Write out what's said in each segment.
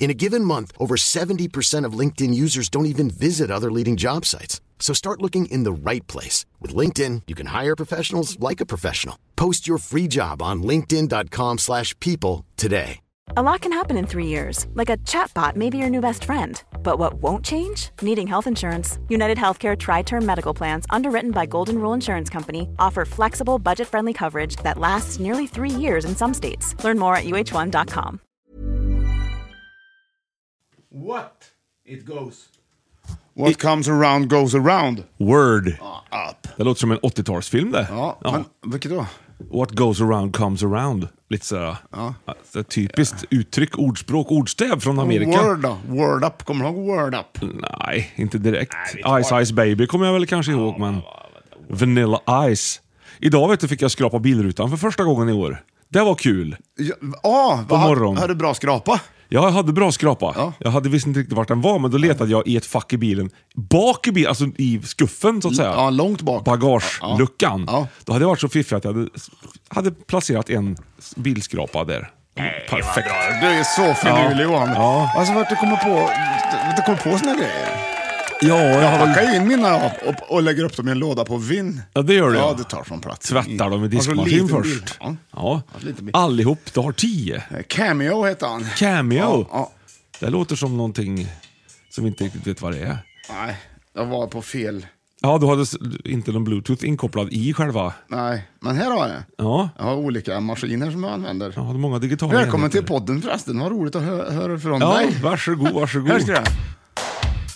In a given month, over 70% of LinkedIn users don't even visit other leading job sites. So start looking in the right place. With LinkedIn, you can hire professionals like a professional. Post your free job on linkedin.com slash people today. A lot can happen in three years, like a chatbot may be your new best friend. But what won't change? Needing health insurance. United Healthcare Tri Term Medical Plans, underwritten by Golden Rule Insurance Company, offer flexible, budget friendly coverage that lasts nearly three years in some states. Learn more at uh1.com. What it goes. What comes around goes around. Word. Ah, Up. Det låter som en 80-talsfilm det. Ja, men vilket då? What goes around comes around. Lite sådär. Alltså, typiskt uttryck, ordspråk, ordstäv från Amerika. Mm. Word då? Word up. Kommer du ihåg word up? Nej, inte direkt. Ice Ice Baby kommer jag väl kanske ihåg, men... Vanilla Ice. Idag vet du, fick jag skrapa bilrutan för första gången i år. Det var kul. Ja, ah, vad har- morgon. Har du bra skrapa? Ja, jag hade bra skrapa. Ja. Jag hade visst inte riktigt vart den var, men då letade jag i ett fack i bilen. Bak i bilen, alltså i skuffen så att säga. Ja, långt bak. Bagageluckan. Ja. Ja. Då hade jag varit så fiffig att jag hade, hade placerat en bilskrapa där. Perfekt. Du är så finurlig Johan. Ja. Alltså vart du kommer på, du kommer på såna grejer. Ja, jag har Jag väl packar ju in mina och, och, och lägger upp dem i en låda på vinn. Ja, det gör du, Ja, ja. det tar från plats. Mm. Alltså, tvättar dem i Har så diskmaskin liten först. bil. Ja. Har så liten bil. Allihop, du har tio. Ja. Eh, Cameo heter han. Cameo. Ja, ja. Det låter som någonting som vi inte riktigt vet vad det är. Nej, jag var på fel. Ja, du hade s- inte någon bluetooth inkopplad i själva... Nej, men här har jag det. Ja, Jag har olika maskiner som jag använder. jag hade många digitala Välkommen till enheter. podden förresten. Vad roligt att hö- höra från Ja, dig. varsågod, varsågod. Här ska jag.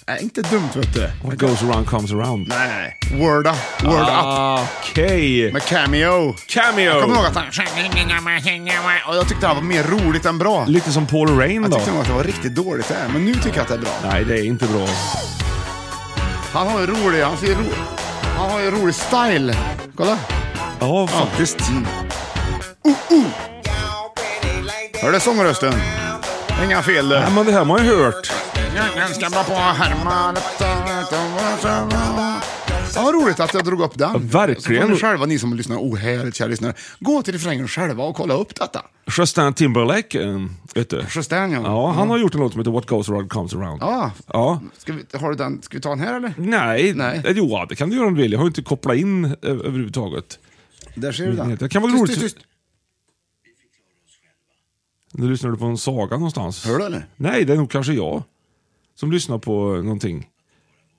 Nej, inte dumt vet du. What goes around comes around. Nej, nej, nej. Word up. Word up. Okej. Med cameo. Jag kommer ihåg Ah. Cameo! att han... Och jag tyckte det här var mer roligt än bra. Lite som Paul Rain Jag då. tyckte nog att det var riktigt dåligt det här, men nu tycker jag att det är bra. Nej, det är inte bra. Han har ju rolig, han ser ro... Han har ju rolig style. Kolla. Oh, Ja, faktiskt. Hör du sångrösten? Inga fel du. Nej, men det här har man ju hört. Jag ska bara på härma... Ja, vad roligt att jag drog upp den. Ja, verkligen. Så får ni själva, ni som lyssnar, ohärligt kära lyssnare, gå till refrängen själva och kolla upp detta. Justin Timberlake, eh, vet du. Justin, ja. Ja, han har gjort en låt som heter What goes around comes around. Ja. Ja. Ska vi, har du den, ska vi ta den här eller? Nej, Nej. Eh, jo ja, det kan du göra om du vill. Jag har ju inte kopplat in eh, överhuvudtaget. Där ser du den. Det kan vara Tyst, roligt. Tyst, tyst. Nu lyssnar du på en saga någonstans. Hör du eller? Nej, det är nog kanske jag som lyssnar på någonting.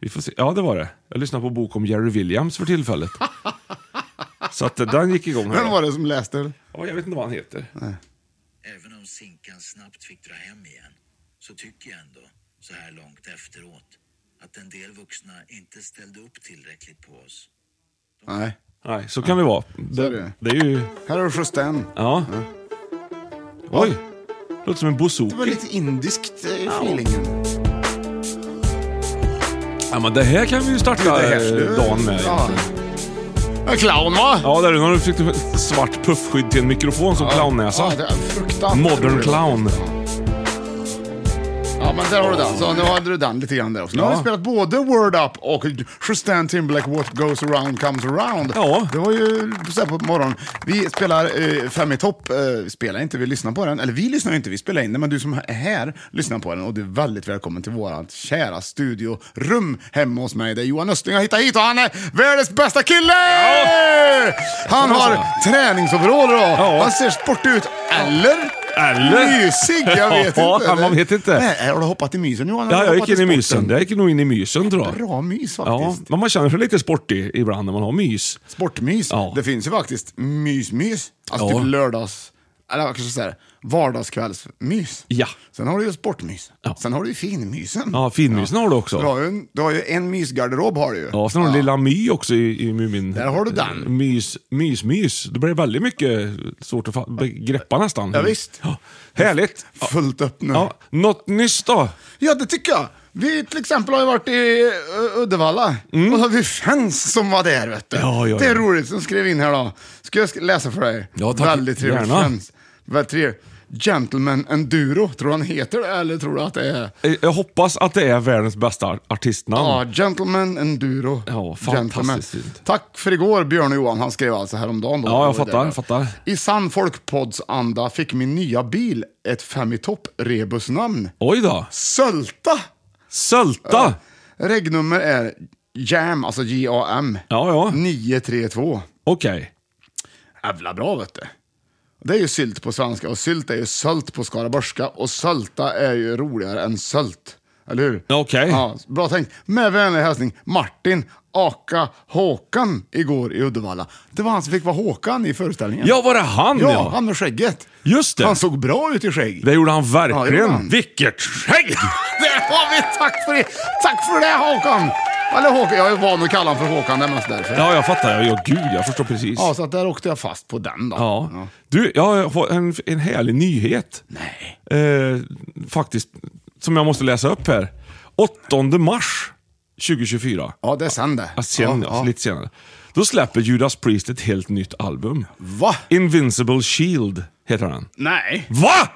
Vi får se. Ja, det var det. Jag lyssnar på en bok om Jerry Williams för tillfället. Så att eh, den gick igång här. Vem var det som läste? Ja, jag vet inte vad han heter. Även om Zinkan snabbt fick dra hem igen så tycker jag ändå, så här långt efteråt, att en del vuxna inte ställde upp tillräckligt på oss. Nej. Nej, så kan det vara. Så är det. Det är ju... Här har du Justin. Ja. Oj! Låter som en Det var bouzouki. lite indiskt eh, i feelingen. Ja, men det här kan vi ju starta Det här eh, skulle- dagen med. Ja. En clown va? Ja, där är det. Nu har du fick du ett svart puffskydd till en mikrofon som clownnäsa. Ja, det är fruktansvärt alltså. Modern roligt. clown. Ja, men där har du den. Så nu hade du den lite grann där också. Nu har Ja. vi spelat både Word Up och Justin Timberlake What Goes Around Comes Around. Ja. Det var ju så här på morgonen. Vi spelar eh, Fem i topp, eh, spelar inte, vi lyssnar på den. Eller vi lyssnar ju inte, vi spelar in den. Men du som är här lyssnar på den och du är väldigt välkommen till vårat kära studiorum hemma hos mig. Där Johan Östling har hittat hit och han är världens bästa kille! Han har träningsoveraller och han ser sportig ut. Eller? Eller? Mysig? Jag vet Ja, inte. man vet inte. Nej, har du hoppat i mysen Johan? Har Ja, du jag gick hoppat in i sporten? mysen. Jag gick nog in i mysen tror jag. Bra mys Ja, faktiskt. men man känner sig lite sportig ibland när man har mys. Sportmys. Ja. Det finns ju faktiskt mysmys. Alltså Ja. typ lördags... eller kanske så här, vardagskvällsmys. Ja. Sen har du ju sportmys. Ja. Sen har du ju finmysen. Ja, finmysen har du också. Du har ju en, du har ju en mysgarderob har du ju. Ja, sen har du Lilla My också i, i Mumin. Där har du den. Mys, mys, mys. Det blir väldigt mycket svårt att fa- greppa nästan. Ja, visst. Härligt. Ja. Fullt upp nu. Ja. Något nyss då? Ja, det tycker jag. Vi till exempel har ju varit i uh, Uddevalla och då har vi fans som var där. Vet du. Mm. Ja, ja, Det är ja. roligt som skrev in här då. Ska jag sk- läsa för dig? Ja, tack. Väldigt trevligt Gärna. fans. Väldigt trevligt. Gentleman Enduro, tror du han heter det eller tror du att det är? Eh, Jag hoppas att det är världens bästa ar- artistnamn. Ja, Gentleman Enduro. Ja, fantastiskt Gentleman. fint. Tack för igår Björn och Johan, han skrev alltså häromdagen. Då. Ja, jag Det var fattar, där. jag fattar. I sann folkpodsanda fick min nya bil ett fem i topp-rebusnamn. Oj då. Sölta! Sölta! Regnummer är JAM, alltså J-A-M, Ja, ja. 932. Okej. Jävla bra vet du. Det är ju sylt på svenska och sylt är ju sölt på skaraborgska och sölta är ju roligare än sölt. Eller hur? Ja, okej. Ja, bra tänkt. Med vänlig hälsning Martin Aka Håkan igår i Uddevalla. Det var han som fick vara Håkan i föreställningen. Ja, var det han ja? ja, han med skägget. Just det. Han såg bra ut i skägg. Det gjorde han Ja, verkligen. det gjorde han. Vilket skägg! Där har vi! Tack för det! Tack för det Håkan! Eller Håkan, jag är van att kalla honom för Håkan, det är mest därför. Ja, jag fattar. Ja, gud, jag förstår precis. Ja, så att där åkte jag fast på den då. Ja. Du, jag har en, en härlig nyhet. Nej. Eh, faktiskt, som jag måste läsa upp här. 8 mars 2024. Ja, det är sen det. Ja, sen, ja, Lite senare. Då släpper Judas Priest ett helt nytt album. Va? Invincible Shield heter den. Nej. Va?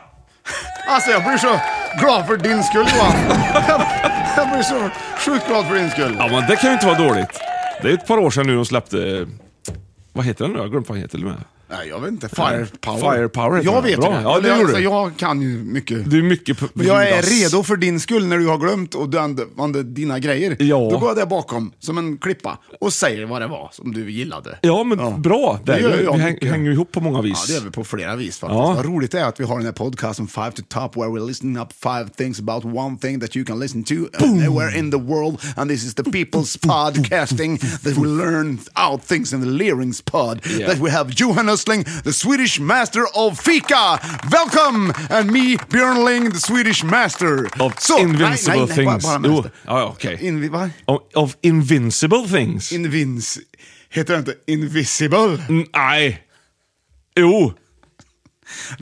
Alltså jag blir så glad för din skull Johan. jag blir så sjukt glad för din skull. Ja, men det kan ju inte vara dåligt. Det är ett par år sedan nu de släppte... eh, Vad heter den nu? Jag har glömt vad den heter till och med. Nej, jag vet inte. Firepower. Firepower heter Jag det. vet Bra. det. Ja, det jag, gjorde du. jag kan ju mycket. Det är mycket... p- Men jag är Judas. redo för din skull när du har glömt och du använder dina grejer. Ja. Då går jag där bakom som en klippa och säger vad det var som du gillade. Ja, men bra. Det, Det gör jag vi häng, mycket. hänger ihop på många Ja, vis. det gör vi på flera vis faktiskt. Ja. Vad roligt det är att vi har den här podcasten Five to Top where we're listening up five things about one thing that you can listen to anywhere in the world. And this is the people's podcasting that we learn out things in the Learings pod. Yeah. That we have Johan Östling, the Swedish master of fika. Welcome! And me, Björn Ling, the Swedish master. Of Så- invincible nej, nej, nej, things. Bara, bara Jo, master. ja, ja, okej. Invi- vad? Of, of invincible things? Invins... Heter det inte invisible? Mm, Nej. Jo.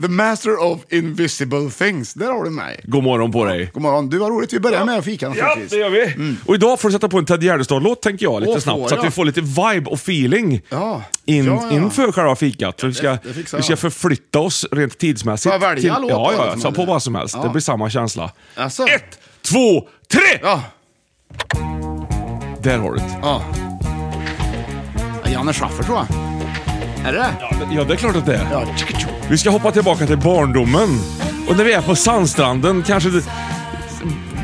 The master of invisible things. Där har du mig. God morgon på dig. God morgon. Du, vad roligt. Vi börjar med fika Ja, naturligtvis. det gör vi. Mm. Och idag får du sätta på en Ted Gärdestad-låt, tänker jag, lite Åh, snabbt. får Så att jag? vi får lite vibe och feeling Ja. in, Ja, ja. inför själva fikat. För vi, ska, det fixar vi ska jag. förflytta oss rent tidsmässigt. Får jag välja låt Ja, då, ja, ja. liksom, Så på eller? vad som helst. Ja. Det blir samma känsla. Alltså. Ett, två, tre! Ja. Där har du det. ja. Ja, Janne Schaffer tror jag. Är det det? Ja, det är klart att det är. Ja. tjicka tjo. Vi ska hoppa tillbaka till barndomen. Och när vi är på sandstranden kanske... Det,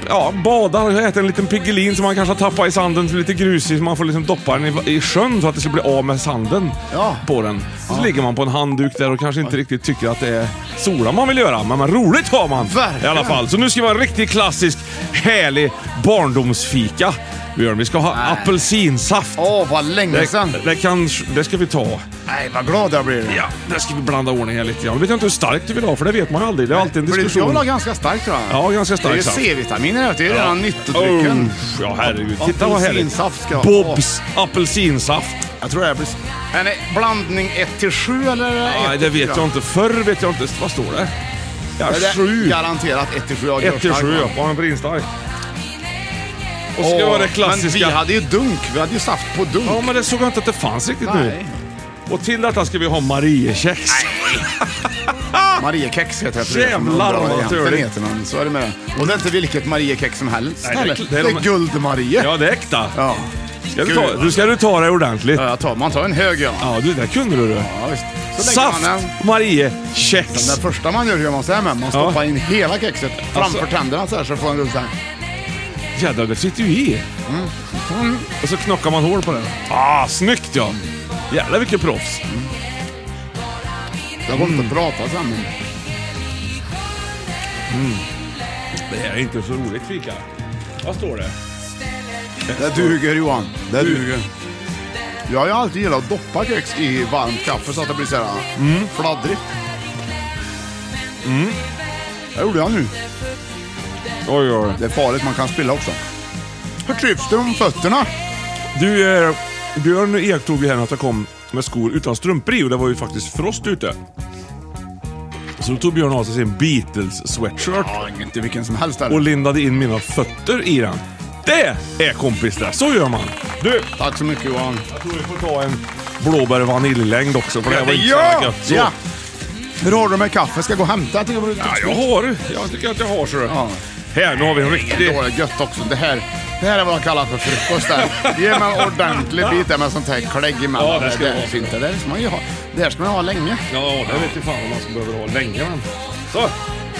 ja, badar och äter en liten piggelin som man kanske har tappat i sanden, som är lite grusig, så man får liksom doppa den i, i sjön så att det ska bli av med sanden Ja. på den. Och så ligger man på en handduk där och kanske inte riktigt tycker att det är sola man vill göra, men, men roligt har man i Verkligen. alla fall. Så nu ska vi ha en riktigt klassisk, härlig barndomsfika. Björn, vi ska ha apelsinsaft. Åh, vad länge sedan. Det, det, kan, det ska vi ta. Nej, vad glad jag blir. Ja, där ska vi blanda ordning här lite grann. Nu vet jag inte hur starkt du vill ha, för det vet man ju aldrig. Det är alltid en För det- Jag diskussion. vill ha ganska starkt tror jag. Ja, Oh. ganska starkt, Det är ju sant. C-vitaminer vet du. Det är ju redan nyttodrycken. Usch, ja herregud. Titta vad härligt. Apelsinsaft ska jag ha. Bobs apelsinsaft. Jag tror det här blir... Är det eh, blandning 1 till 7 eller? Nej, det vet jag inte. Förr vet jag inte. Vad står det? Ja, Sju. sju. Garanterat 1 till 7. Ett till sju, ja. Var han brinstark? Och så ska det vara det klassiska. Men vi hade ju dunk. Vi hade ju saft på dunk. Ja, men det såg jag inte att det fanns riktigt nu. Nej. Och till detta ska vi ha Mariekex. Mariekex heter jag. Jävlar, vad törligt. törligt. Så är det med det. Och det är inte vilket Mariekex som helst. Nej, det är heller. kl- det det är är, de- Guld-Marie. Ja, det är äkta. Ja. Ska du ta, du ska du ta det ordentligt. Ja, jag tar, man tar en hög ja. Ja, du, det kunde du. du. ja visst. Så lägger Saft, Man den. Mariekex. Det första man gör gör man så här med. Man Ja. stoppar in hela kexet framför Alltså- tänderna så här så får man så här. Jädrar, det sitter ju i. Och så knockar man hål på den. Ah, snyggt ja! Jävlar vilket proffs. Jag går Mm. inte att prata sen. men- Det här är inte så roligt fika. Vad står det? Det duger Johan. Det duger. Jag Mm. har ju alltid gillat att doppa kex i varmt kaffe så att det blir så här fladdrigt. Det gjorde jag nu. Oj, oj. Det är farligt, man kan spilla också. Hur trivs du om fötterna? Du, eh, Björn iakttog ju här att jag kom med skor utan strumpor i och det var ju faktiskt frost ute. Så då tog Björn av sig sin Beatles-sweatshirt Ja, inte vilken som helst. och Eller? lindade in mina fötter i den. Det är kompis det, så gör man. Du, Tack så mycket Johan. jag tror vi får ta en blåbär och vaniljlängd också för det här var inte så jävla Ja! gött. Så. ja! Hur har du med kaffe? Ska jag gå och hämta? Jag tycker Ja, jag har. Jag tycker att jag har så. Ja. Här, nu har vi en Det riktig... var gött också. Det här, det här är vad jag kallar för frukost. Där. Ge mig en ordentlig bit där med sånt här klägg emellan. Ja, det ska det vara. här finns det. Det här ska man ju ha, det här ska man ha länge. Ja, det vet ju fan vad man ska behöva ha länge men. Så,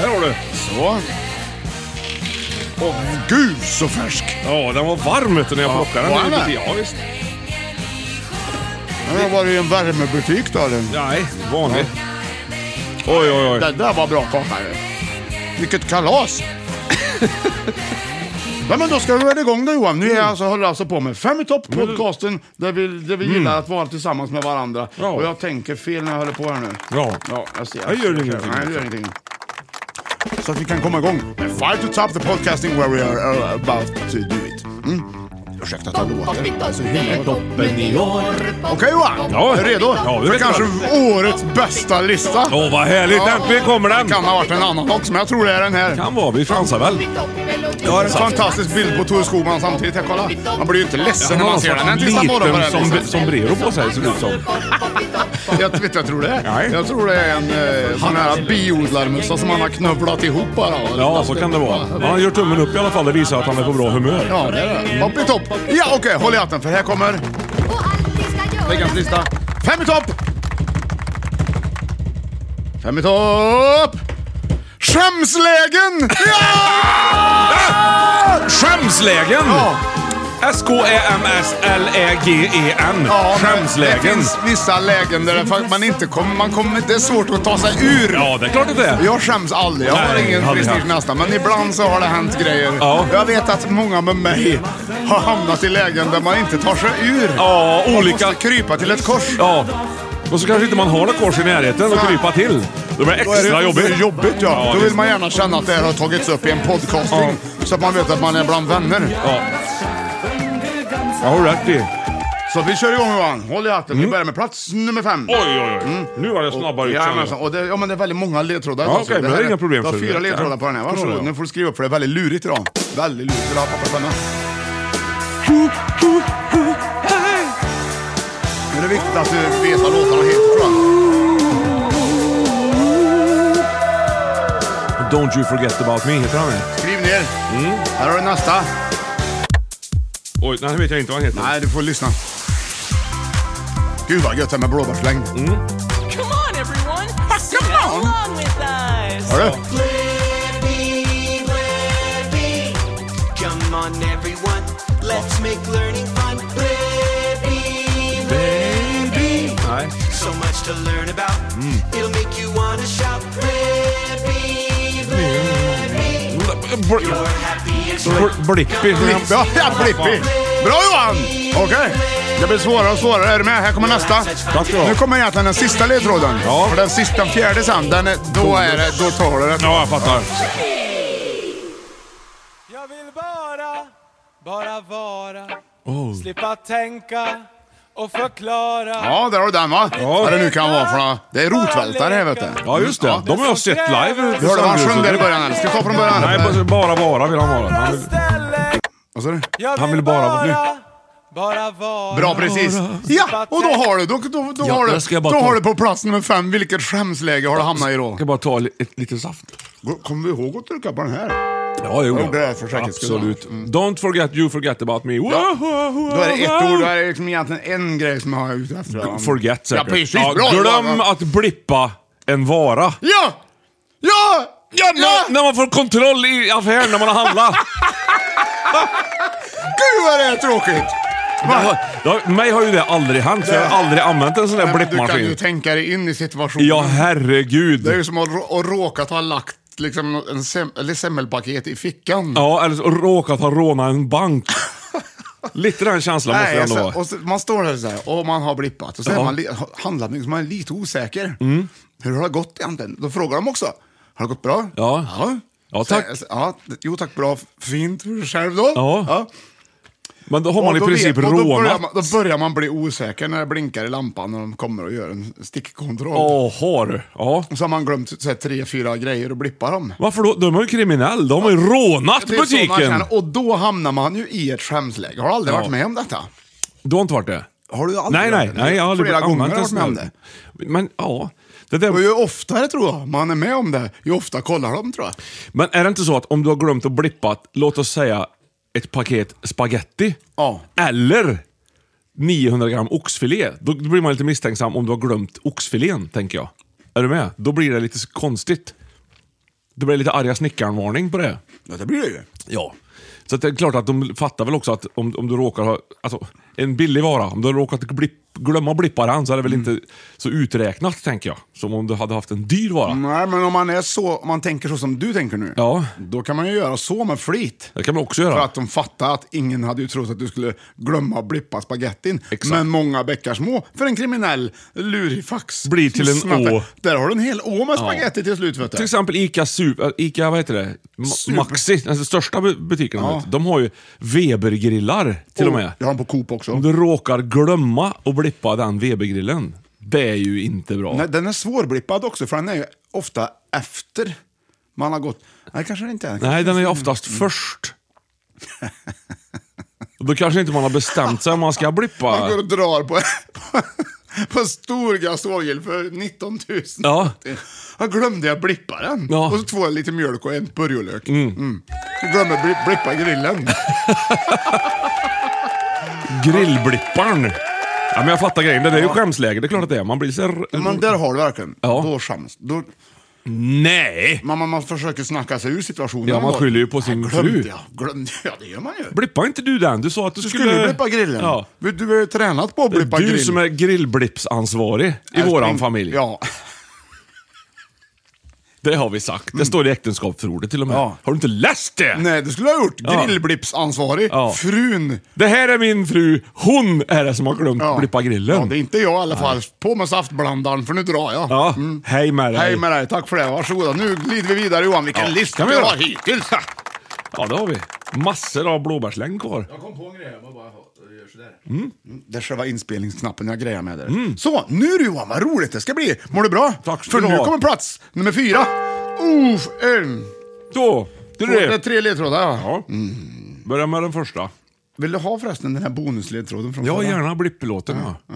här har du. Så. Åh gud så färsk! Ja, den var varm vet du, när jag Ja, plockade var den. den det? Ja, visst. Den har varit i en värmebutik då eller? Nej, vanlig. Oj, oj, oj. Det där var bra kaka ju. Vilket kalas! Ja, men då ska vi väl igång då Johan. Nu Mm. är jag alltså, håller jag alltså på med Fem i topp, podcasten där vi, där vi Mm. gillar att vara tillsammans med varandra. Ja. Och jag tänker fel när jag håller på här nu. Ja. Ja, jag ser. Jag gör ingenting. Nej, jag gör ingenting. Så att vi kan komma igång med Five to top the podcasting where we are uh, about to do it. Mm. Ursäkta att jag låter. Jag är så himla toppen i år. Okej Johan, Ja. är du redo? Ja, vi För vet kanske årets bästa lista. Åh, vad härligt. Äntligen kommer den. Det kan ha varit en annan också, men jag tror det är den här. Kan vara, vi chansar väl. Jag har en fantastisk bild på Thore Skogman samtidigt. Här, kolla. Man blir ju inte ledsen när man ser den. Den tisdag morgon på liten den som, här listan. sombrero på sig ser det ut som. liksom. Jag vet inte, jag tror det är. Nej. Jag tror det är en eh, sån här biodlarmössa som han har knövlat ihop bara. Ja, så kan det vara. Men Han gör tummen upp i alla fall. Det visar att han är på bra humör. Ja, det är det. Hopp i topp. Ja, okej, håll i hatten för här kommer veckans lista. Fem i topp! Fem i topp! Skämslägen! Ja! Skämslägen! Ja. E S-K-E-M-S-L-E-G-E-N. Ja, men Det E Skämslägen. finns vissa lägen där det fakt- man inte kommer, man kommer, det är svårt att ta sig ur. Ja, det är klart att det är. Jag skäms aldrig, jag har Nej, ingen aldrig prestige haft. nästan. Men ibland så har det hänt grejer. Ja. Jag vet att många med mig har hamnat i lägen där man inte tar sig ur. Ja, Man olika- måste krypa till ett kors. Ja. Och så kanske inte man har något kors i närheten att Nej. krypa till. Då blir det Då är extra det jobbigt. jobbigt ja. Då vill visst. man gärna känna att det här har tagits upp i en podcasting. Så att man vet att man är bland vänner. Ja. Jag har rätt i. Så vi kör igång Johan. Håll i hatten. Vi börjar med plats nummer fem. Mm. Oj, oj, oj. Mm. Nu var jag snabbare ut. känner jag. Jajamensan, och det, Mm. ja, men det är väldigt många ledtrådar. Ja, Alltså, okej, men här det är inga problem, Du har så fyra det- ledtrådar på den här. Förstår Varsågod, jag. nu får du skriva upp för det är väldigt lurigt idag. Väldigt lurigt. Vill du ha papper och penna? Men det är viktigt att du vet vad låtarna heter tror jag. Don't you forget about me, heter han det? Skriv ner. Mm. Här har du nästa. Oj, nej, det vet jag inte vad han heter. Nej, du får lyssna. Gud vad gött det här med blåbärslängd. Mm. Come on, everyone! Come on! Along with us! Hör du? Come on, everyone, let's make learning fun. Libby, Libby. Nej. So much to learn about. It'll make you want to shout. Libby, Libby. You're happy and Bl- Blippi. Blipp, ja, ja, Blippi. Bra Johan! Okej. Det blir svårare och svårare. Är du med? Här kommer nästa. Tack ska du ha. Nu kommer egentligen den sista ledtråden. Ja. För den sista, den fjärde sen, den är, då, är det, då tar du det. Ja, jag fattar. Jag vill bara, bara vara Slippa tänka och förklara Ja, där har du den va? Ja. Vad det nu kan vara för några- Det är rotvältare här vet du. Ja, just det. De har jag sett live. Du hörde vad han sjöng där i början. eller? Ska vi ta från början? Nej, bara- bara bara vill han vara. Han vill... ställen Vad sa du? Jag Han vill vill bara- bara, bara vara Bra, precis. Ja, och då har du, då, då, då Ja, har du, jag ska bara då ta- har du på plats nummer fem. Vilket skämsläge har du hamnat i då? Jag ska bara ta li- ett litet saft. Kommer du ihåg att trycka på den här? Ja, det Jag gjorde det här för säkerhets skull. Mm. Absolut. Don't forget you forget about me. Då är det ett ord, då är det liksom egentligen en grej som jag är ute efter. va? Forget säkert. Ja, precis. Ja, Bra, glöm Johan. att blippa en vara. Ja! Ja! Ja! När- När man får kontroll i affären när man har handlat. Gud vad det är tråkigt! Det har- det har- Mig har ju det aldrig hänt, för jag har aldrig använt en sån där Men Du kan ju blippmaskin. tänka dig in i situationen. Ja, herregud. Det är ju som att, rå- att råkat ha lagt liksom en sem eller semmelpaket i fickan. Ja, eller så råkat ha rånat en bank. Lite den känslan måste det ändå alltså, vara. och så, man står där så här och man har blippat och så är Ja. Mm. man li- handlat, men man är lite osäker. Hur har det gått egentligen? Då frågar de också. Har det gått bra? Ja. Ja, Ja, tack. Så, ja, jo tack, bra. Fint. Hur Själv då? Ja. Men då har man Och i då princip vet- och Då börjar, rånat. man, då börjar man bli osäker när det blinkar i lampan när de kommer och gör en stickkontroll. Jaha du. Ja. Och så har man glömt så här, tre, fyra grejer och blippar dem. Varför då? De är ju kriminell. De har ju rånat Det är så man butiken. känner. Och då hamnar man ju i ett skämsläge. Har du aldrig Ja. varit med om detta? Du har inte varit det? Har du aldrig Nej, varit nej, med? nej. Jag har aldrig Flera varit- gånger har använt jag en varit med om sån det. här. Men ja. Det där, Och ju oftare tror jag man är med om det, ju ofta kollar de tror jag. men är det inte så att om du har glömt att blippa, låt oss säga ett paket spaghetti Ja. eller 900 gram oxfilé, då blir man lite misstänksam om du har glömt oxfilén, tänker jag. Är du med? Då blir det lite så konstigt. Det blir lite arga snickaren-varning på det. Ja, det blir det ju. Ja. Så att det är klart att de fattar väl också att om, om du råkar ha... Alltså, en billig vara, om du har råkat blipp, glömma blippa den så är det Mm. väl inte så uträknat, tänker jag. Som om du hade haft en dyr vara. Nej, men om man, är så, om man tänker så som du tänker nu, Ja, då kan man ju göra så med flit. det kan man också göra. För att de fattar att ingen hade ju trott att du skulle glömma att blippa spagettin. Exakt. Men många bäckar små för en kriminell lurifax. Blir till en Snatta. å. Där har du en hel å med spagetti till slut vet Till du. exempel Ica, Super, Ica vad heter det? Ma- Super. Maxi, alltså den största bu- butiken. de vet. De har ju Webergrillar till och med. Jag har den på Coop också. Om du råkar glömma att blippa den Webergrillen, det är ju inte bra. Nej, den är svårblippad också för den är ju ofta efter man har gått. Nej, kanske det inte är. Nej, den är ju oftast först. Och Då kanske inte man har bestämt sig om man ska blippa. Man går och drar på, på en stor gasolgrill för 19 000. Ja. Jag glömde jag blippa den. Ja. Och så två lite mjölk och en purjolök. Mm. Jag glömde bli- blippa grillen. Grillblipparen. Ja, men jag fattar grejen. Det där är ju skämsläge. Det är klart att det är. Man blir så... här- Men där har du verkligen. Ja. Då skäms. Då, Nej! man, man, man försöker snacka sig ur situationen. Ja, man då. skyller ju på sin Glömde fru. jag? Glömde jag? Det gör man ju. Blippa inte du den? Du sa att du, Skulle du blippa grillen? Ja. Du, du har ju tränat på att Det är blippa du grill. som är grillblippsansvarig i våran familj. Ja. Det har vi sagt. Det står i äktenskapsförordet till och med. Mm. Ja. Har du inte läst det? Nej, det skulle jag ha gjort. Ja. Grillblippsansvarig. Ja. Frun. Det här är min fru. Hon är det som har glömt Ja. blippa grillen. Ja, det är inte jag i alla fall. På med saftblandaren för nu drar jag. Mm. Ja, hej med dig. Hej med dig, tack för det. Varsågoda. Nu glider vi vidare Johan. Vilken Ja, lista kan vi vi göra. har hittills. Ja, det har vi. Massor av blåbärslängd kvar. Jag kom på en grej, jag bara, bara gör sådär. Mm. Det är själva inspelningsknappen jag grejar med där. Så, nu du Johan, vad roligt det ska bli. Mår du bra? Mm. Tack ska För du nu ha. kommer plats nummer fyra. Oof, en, Då, det är två, det är det. tre ledtrådar. Ja. Ja. Börja med den första. Vill du ha förresten den här bonusledtråden från Ja, förra? gärna blippelåten. Ja. Ja,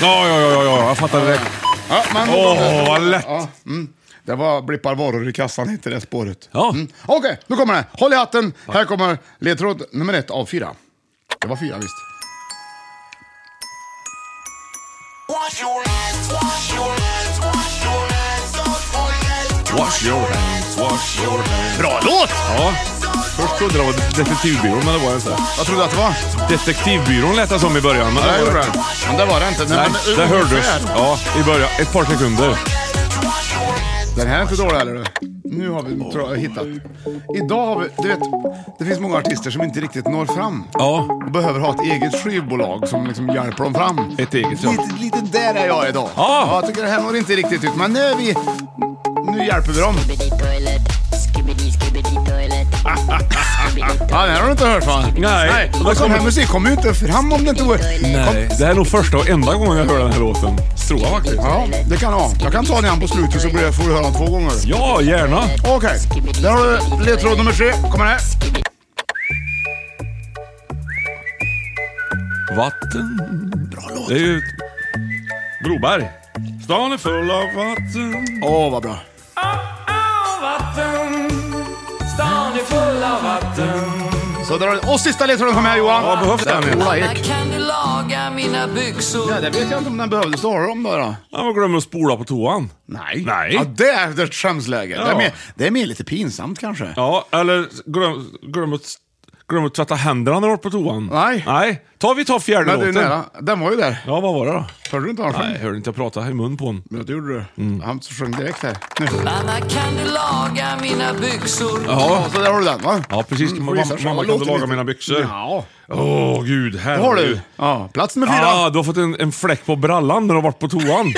ja, ja, ja, ja, jag fattar direkt. Ja, men- Åh, vad lätt. Ja, mm. Det var blippar varor i kassan, hette det spåret. Ja. Mm. Okej, nu kommer det. Håll i hatten. Här kommer ledtråd nummer ett av fyra. Det var fyra visst. Wash your hands, wash your hands, wash your hands, don't forget to Wash your hands, wash your hands. Bra låt! Ja, först trodde jag det var Detektivbyrån, men det var det inte. Jag trodde att det var. Detektivbyrån lät det som i början. Men Nej, det, det var gjorde det. den. inte. Men det var det inte. Nej, men, det ungefär. hördes. Ja, i början. Ett par sekunder. Den här är inte dålig heller. Nu har vi tror jag, hittat. Idag har vi, du vet, det finns många artister som inte riktigt når fram. Ja, Och behöver ha ett eget skivbolag som liksom hjälper dem fram. Ett eget, ja. Ah! lite, lite där är jag idag. Ja. jag tycker det här når inte riktigt ut. Men nu är vi... Nu hjälper vi dem. Ja, den här har du inte hört va? Nej. Och Och sån kommer- här musik kommer ju inte fram om det inte går... nej. Det här är nog första och enda gången jag hör den här låten. Tror jag faktiskt. Ja, det kan jag ha. Jag kan ta den igen på slutet så blir det- får du höra den två gånger. Ja, gärna. Okej, där har du ledtråd nummer tre. Kommer här. Vatten. Bra låt. Det är ju... Broberg. Stan är full av vatten. Åh, vad bra. Vatten, stan är full av vatten. Så där har du. Och sista ledtråden kommer här Johan. Ja, behövs den? Där, Ola Ek. Kan du laga mina byxor? Ja, det vet jag inte om den behövdes. Då har du dem då. då. Han glömmer att spola på toan. Nej. Nej. Ja, det är ett skämsläge. Det, är Ja. mer, det är mer lite pinsamt kanske. Ja, eller glöm, glöm, att, glöm att tvätta händerna när du har varit på toan. Nej. Nej. Ta, vi tar fjärde Men det är låten. nära. Den var ju där. Ja, vad var det då? Hörde du inte vad han Nej, Mm. jag sjöng? hörde inte. Jag pratade i mun på honom. Men det gjorde du. Han sjöng direkt här. Nu. Anna, kan du laga mina byxor? Ja, så där har du den va? Ja, precis. Mm, får mamma, gissa själv. mamma kan Låter du laga lite- mina byxor? Ja. Åh, oh, gud. Det Herre. har du. Ja, plats nummer fyra. Ah, du har fått en, en fläck på brallan när du har varit på toan.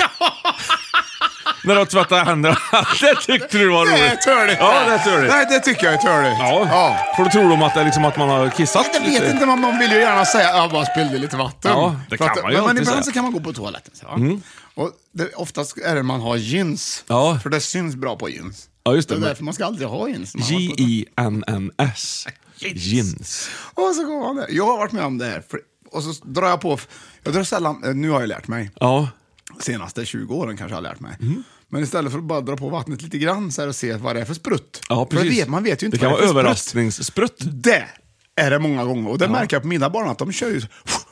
när du har tvättat händerna. det tyckte du var roligt. Det är törligt. Ja, det är törligt. Nej, det tycker jag är törligt. Ja. För då tror de att, det är liksom att man har kissat Jag vet inte, man, man vill ju gärna säga jag bara spillde lite vatten. Ja, det För kan man ju Men alltid ibland säga. Mm. så kan man gå på toaletten. Så, va? Och det, oftast är det man har jeans. Ja. För det syns bra på jeans. Ja, just Det är det. därför man ska aldrig ha jeans. när man har varit på- J-I-N-N-S. Jeans. Och så går man där. Jag har varit med om det här. För, och så drar jag på, jag drar sällan, eh, nu har jag lärt mig. Ja. Senaste 20 åren kanske jag har lärt mig. Mm. Men istället för att bara dra på vattnet lite grann så här och se vad det är för sprutt. Ja, För det precis. vet, man vet ju inte Det kan vad vara det är för sprutt. överraskningssprutt. Det är det många gånger. Och det märker jag på mina barn att de kör ju fort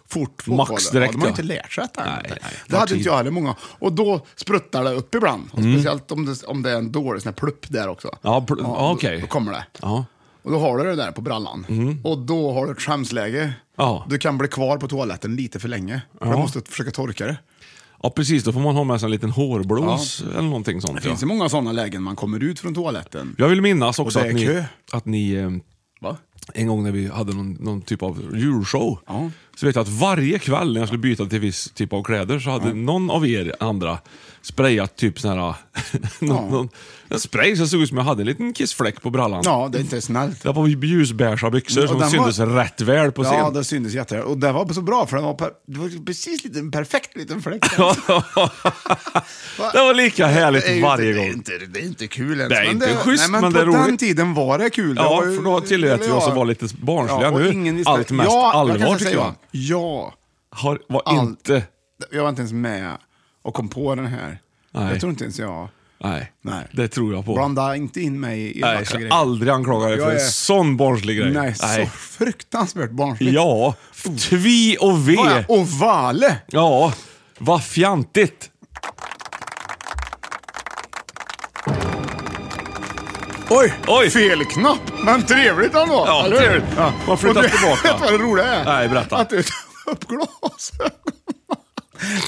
fotboll. Max direkt, Ja, de har ja. inte lärt sig detta. Nej, än. nej, det det hade tar inte jag heller många. Och då spruttar det upp ibland. Och Speciellt om det, om det är en dålig sån här plupp där också. Mm. Ja, pl- ja, då- okej. Då kommer det. Ja. Mm. Och då har du det där på brallan. Och då har du ett skämsläge. Ja. Du kan bli kvar på toaletten lite för länge. För Du måste försöka torka det. Ja, precis. Då får man ha med sig en liten hårblås eller någonting sånt. Det finns ju ja. många sådana lägen man kommer ut från toaletten. Jag vill minnas också Och det är att ni, kö. att ni eh, Va? en gång när vi hade någon, någon typ av julshow. Ja. Så vet jag att varje kväll när jag skulle byta till viss typ av kläder så hade någon av er andra sprayat typ sån här... någon, någon, en spray som såg ut som jag hade en liten kissfläck på brallan. Ja, det är inte snällt. Det var på ljusbeiga byxor Och som den syntes var- rätt väl på scen. Ja, det syntes jätteväl. Och det var så bra för den var, per, det var precis lite, en perfekt liten fläck. det var lika härligt Det är ju varje inte, gång. Det är, inte, det är inte kul ens. Det är inte schysst, nej, men, men på det är den roligt. tiden var det kul. det Ja, var ju, för då tillät vi oss att vara lite barnsliga. och Nu, ingen visste- allt mest ja, allvar, jag kan tycker säga jag. Ja, Har, var All- inte... jag var inte ens med och kom på den här. Nej. Jag tror inte ens jag... Nej, Nej. det tror jag på. Blanda inte in mig i Nej, elaka jag ska grejer. aldrig anklaga dig för Jag en är- sån barnslig grej. Nej, så fruktansvärt barnsligt. Ja, tvi och ve. Vad är Ovale! Ja, vad fjantigt. Oj, Oj. fel knapp! Men trevligt ändå! Ja, eller hur? trevligt. Man Och flyttar du, tillbaka. Vet du vad det roliga är? Nej, berätta. Att du tar upp glasögonen.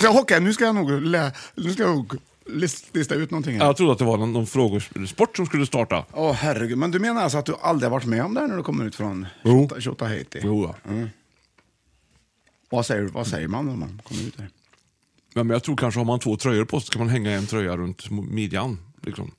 Så, Håkan, nu ska jag nog, lä- nu ska jag nog lis- lista ut någonting här. Jag trodde att det var någon, någon frågesport som skulle starta. Åh herregud, men du menar alltså att du aldrig har varit med om det här när du kommer ut från Jo. Tjotahejti? Jo, ja. Vad säger, vad säger man när man kommer ut där? Ja, men jag tror kanske har man två tröjor på sig så kan man hänga en tröja runt midjan. Liksom.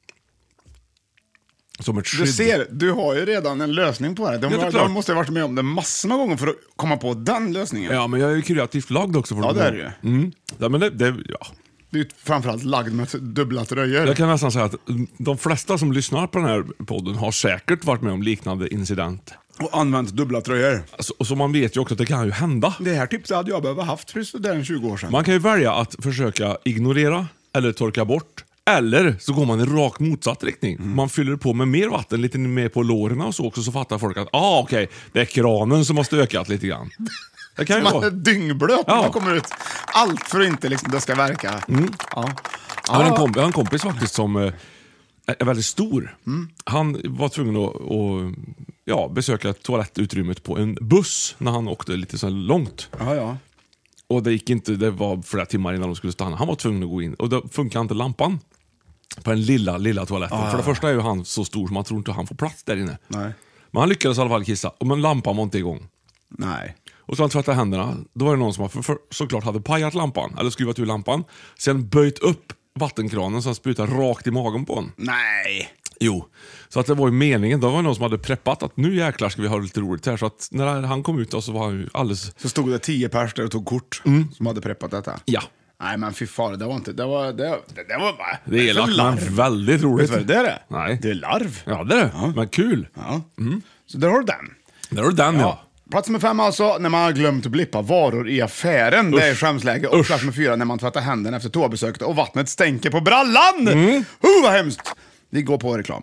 Som ett skydd. Du ser, du har ju redan en lösning på det här. De, Ja, det är klart. de måste ha varit med om det massor av gånger för att komma på den lösningen. Ja, men jag är ju kreativt lagd också. För Ja, det är du ju. ju. Mm. Ja, men det, det, ja. Du är ju framförallt lagd med dubbla tröjor. Jag kan nästan säga att de flesta som lyssnar på den här podden har säkert varit med om liknande incident. Och använt dubbla tröjor. Alltså, och så man vet ju också att det kan ju hända. Det här typ tipset hade jag behövt haft för sådär en 20 år sedan. Man kan ju välja att försöka ignorera eller torka bort. Eller så går man i rakt motsatt riktning. Mm. Man fyller på med mer vatten, lite mer på låren och så också, så fattar folk att ah, okej, det är kranen som har stökat lite grann. Det kan ju man är vara. dyngblöt när Ja. Mm. man kommer ut. Allt för att inte liksom, det ska verka. Ja. Jag har en, komp- jag har en kompis faktiskt som eh, är väldigt stor. Mm. Han var tvungen att, att ja, besöka toalettutrymmet på en buss när han åkte lite så här långt. Ja, ja. Och det gick inte, det var flera timmar innan de skulle stanna. Han var tvungen att gå in och då funkar inte lampan. På den lilla, lilla toaletten. För det första är ju han så stor så man tror inte han får plats där inne. Ah. Nej. Men han lyckades i alla fall kissa, Och men lampan var inte igång. Nej. Och så han tvättade händerna. Då var det någon som har- för, för, såklart hade pajat lampan, eller skruvat ur lampan. Sen böjt upp vattenkranen så han sprutade rakt i magen på honom. Nej. Jo. Så att det var ju meningen. Då var det någon som hade preppat att nu jäklar ska vi ha lite roligt här. Så att när han kom ut då så var han ju alldeles... Så stod det tio pers där och tog kort som hade preppat detta. Mm. Ja. Nej men fy fan, det var inte, det var, det, det, det var bara... Det är för elakt larv. men väldigt Vet roligt. du vad det är? det? Nej. Det är larv. Ja, Mm. det är det. Ja. Men kul. Ja. Så där har du den. Där har du den ja. Plats nummer fem alltså, när man har glömt att blippa varor i affären. Det är skämsläge. Och plats nummer fyra, när man tvättar händerna efter toabesöket och vattnet stänker på brallan. Mm. Oh, vad hemskt! Vi går på reklam.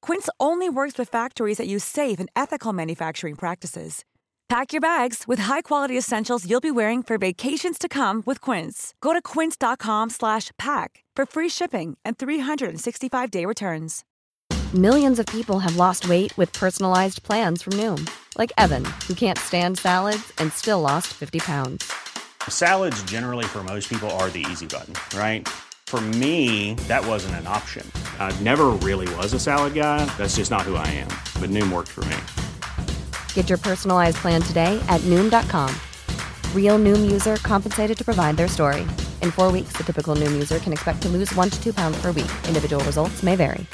Quince only works with factories that use safe and ethical manufacturing practices. Pack your bags with high-quality essentials you'll be wearing for vacations to come with Quince. Go to quince.com/pack for free shipping and 365-day returns. Millions of people have lost weight with personalized plans from Noom, like Evan, who can't stand salads and still lost 50 pounds. Salads, generally, for most people, are the easy button, right? For me, that wasn't an option. I never really was a salad guy. That's just not who I am. But Noom worked for me. Get your personalized plan today at Noom.com. Real Noom user compensated to provide their story. In four weeks, the typical Noom user can expect to lose one to two pounds per week. Individual results may vary.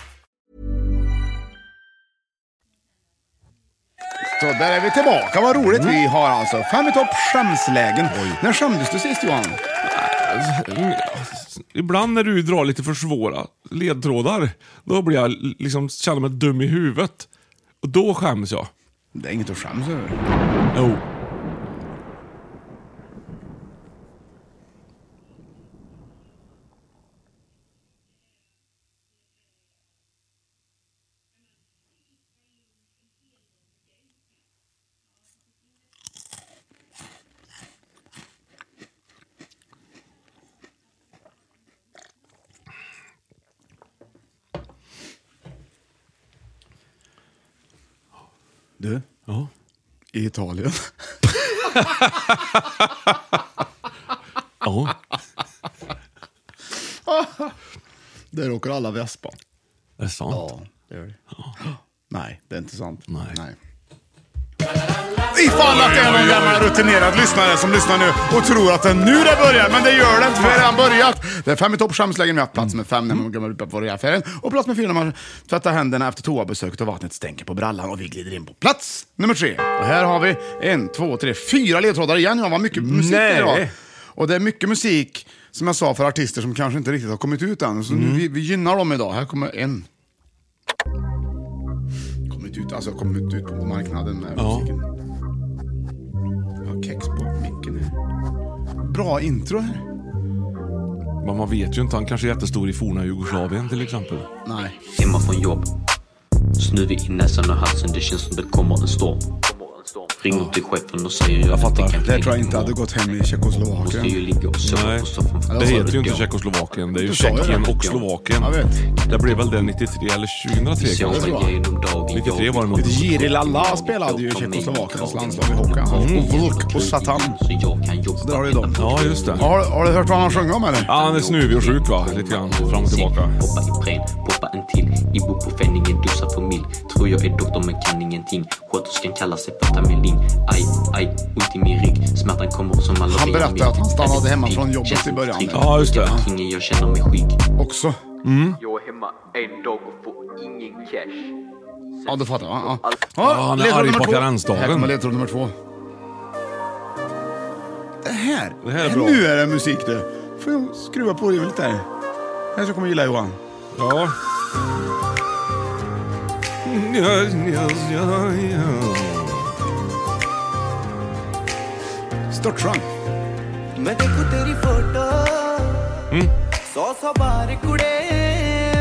Så där är vi tillbaka. Vad roligt vi har alltså. Fem i topp skämslägen. När skämdes du sist Johan? Ibland när du drar lite för svåra ledtrådar, då blir jag liksom, känner mig dum i huvudet. Och då skäms jag. Det är inget att skämmas över. Jo. Du? Ja? I Italien. ja. Där åker alla vespa. Det är sant. Ja, det gör det. Nej, det är inte sant. Nej. Nej. Ifall att det är någon gammal rutinerad lyssnare som lyssnar nu och tror att det är nu det börjar, men det gör det inte för det har redan börjat. Det är fem i topp skämslägen. Vi har haft plats med fem när man glömmer upp att vara i affären och plats med fyra när man tvättar händerna efter toabesöket och vattnet stänker på brallan och vi glider in på plats nummer tre. Och här har vi en, två, tre, fyra ledtrådar igen. Johan, vad mycket musik det är idag. Nej. Och det är mycket musik, som jag sa, för artister som kanske inte riktigt har kommit ut än. Så Mm. nu, vi, vi gynnar dem idag. Här kommer en. Kommit ut, alltså kommit ut på marknaden med Ja. musiken. Jag har kex på micken här. Bra intro här. Men man vet ju inte. Han kanske är jättestor i forna Jugoslavien till exempel. Nej. Hemma från jobb. Snuvig i näsan och halsen. Det känns som det kommer en storm. Ringer till chefen och säger jag, fattar. Det, Det tror jag inte hade gått hem i Tjeckoslovakien. Måste ju ligga och sova på soffan. Det heter ju inte Tjeckoslovakien. Det är ju Du sa ju Tjeckien det. och Slovakien. Jag vet. Det blev väl det 93 eller 2003 kanske? 93 var det nog. Jiri Lala spelade ju i Tjeckoslovakiens landslag i hockey. Han Mm. och Volk och Satan. Så där har du dem. Ja, just det. Har, har du hört vad han sjöng om eller? Ja, han är snuvig och sjuk va? Lite grann fram och tillbaka. Hoppa i pren, poppa en till. Ibuprofen, ingen dosa för mild. Tror jag är doktor men kan ingenting. Sköterskan kallar sig Patamelin. Aj, aj, ont i min rygg. Smärtan kommer som alla Han via mig. berättade att han stannade hemma från jobbet i början. Ja, just det. Ingen jag känner mig sjuk. Också. Jag är hemma en dag och får ingen cash. Ja, du fattar jag. Ja. Ja, han är ledtråd arg nummer på två. karensdagen. Här kommer ledtråd nummer två. Det här. Det här är bra. Nu är det musik du. Får jag skruva på det lite här. Kanske kommer gilla Johan. Ja. Ja, ja, ja, ja. Störtsjön. मैं देखूं तेरी photo Mm. सौ सौ बार कुड़े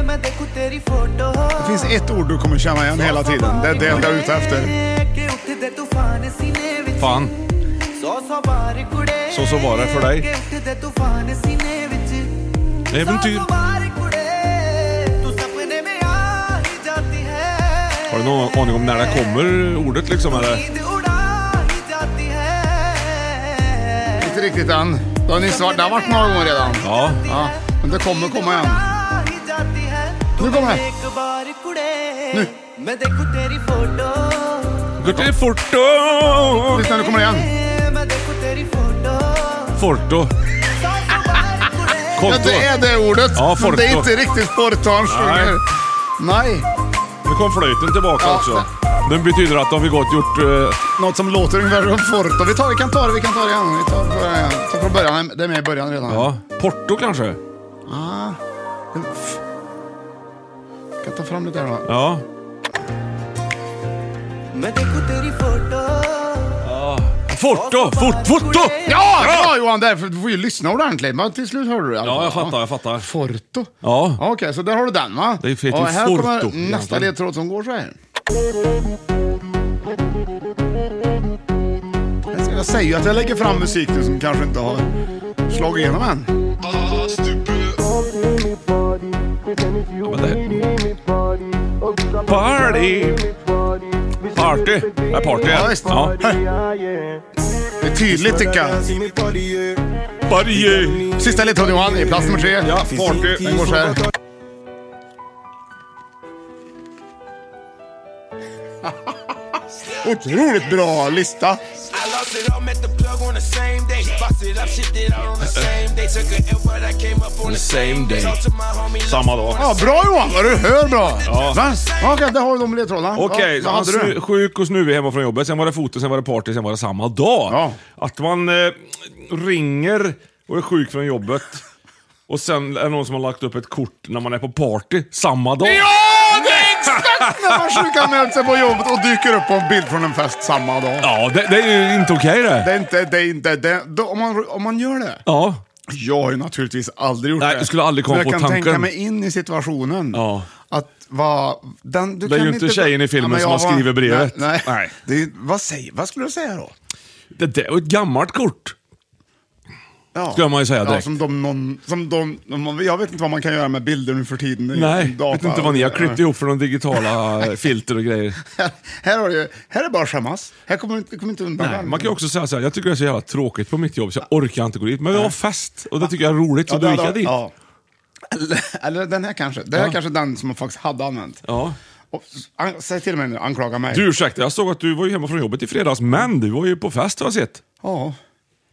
मैं देखूं तेरी photo Det finns ett ord du kommer känna igen hela tiden. Det är det jag är ute efter. के उठदे तूफान सीने विच Fan, सौ सौ बार कुड़े så så var det för के dig. उठदे तूफान सीने विच Äventyr. बार कुड़े तू सपने में आ ही जाती है Har du någon aning om när det kommer ordet liksom eller? नींद उड़ा ही जाती है Inte riktigt än. Det har nyss varit, det har varit några gånger redan. Ja. Ja, men det kommer komma igen. ही जाती है Nu kommer det. एक बार कुड़े मैं देखूं तेरी photo Gå till Forto! Lyssna, nu kommer det igen. मैं देखूं तेरी photo Forto. Ja, Konto. det är det ordet. Ja, men det är forto. inte riktigt forto han sjunger. Nej. Nu kom flöjten tillbaka Ja. också. Den betyder att de vi gått gjort... eh, Något som låter ungefär som forto. Vi, tar, vi kan ta det, vi kan ta det igen. Vi tar det från början. Ta från början. Det är med i början redan. Ja, Porto kanske? Ah. F- Kan ta fram det där då. Ja. मैं देखूं तेरी photo Ja, Forto! Fort, forto! Ja, bra Johan! Därför du får ju lyssna ordentligt. Men till slut hörde du det. Ja, jag fattar, jag fattar. Forto? Ja. Okej, så där har du den va? Det är fel till Och här Forto. kommer nästa Nästan. ledtråd som går så här. Jag säger ju att jag lägger fram musik nu som kanske inte har slagit igenom än. Party! Party! Det är party. Ja, visst. Ja. Det är tydligt tycker jag. Party! Sista ledtråden Johan, i plats nummer tre. Ja, party. Den går så här. Otroligt bra lista. I lost it all, met the plug on the same day. Boxed it up, shit it out on the same day. Took an L, but I came up on the same day. Talked to my homie, Samma dag. Ja, bra Johan, vad du hör bra. Ja. Va? Ja, Okej, där har du de ledtrådarna. Ja, Okej, så vad han hade du? snu, sjuk och snuvig hemma från jobbet, sen var det foto, sen var det party, sen var det samma dag. Att man eh, ringer och är sjuk från jobbet och sen är det någon som har lagt upp ett kort när man är på party samma dag. Ja, det är exakt när man sjukanmält sig på jobbet och dyker upp på en bild från en fest samma dag. Ja, det, det är ju inte okej det. Det är inte, det är inte, det, då, om, man, om man gör det. Ja. Jag har ju naturligtvis aldrig gjort Nej, det. jag skulle aldrig komma Men jag på kan tanken. tänka mig in i situationen. Ja. Att vad... Den, du Det är kan ju inte tjejen i filmen men som jag har var- skrivit brevet. Nej, nej. Nej. Det är, vad, säger, vad skulle du säga då? Det där är ju ett gammalt kort. Ja. Skulle man ju säga Ja, direkt. som de, någon, som de, de- jag vet inte vad man kan göra med bilder nu för tiden. Det är Nej, ju data. jag vet inte vad ni har klippt ihop för de digitala eh, filter och grejer. Här, här, har du, här är bara skämmas. Här kommer du inte- kommer inte undan. Nej, man kan ju också säga såhär, jag tycker det är så jävla tråkigt på mitt jobb så jag orkar inte gå dit. Men vi har fest och det tycker jag är roligt så Ja, då det gick hade- jag dit. Ja. Eller, eller den här kanske. Det här Ja. kanske är den som man faktiskt hade använt. Ja. Och, an, säg till mig nu, anklaga mig. Du ursäkta, jag såg att du var ju hemma från jobbet i fredags, men du var ju på fest har jag sett. Ja,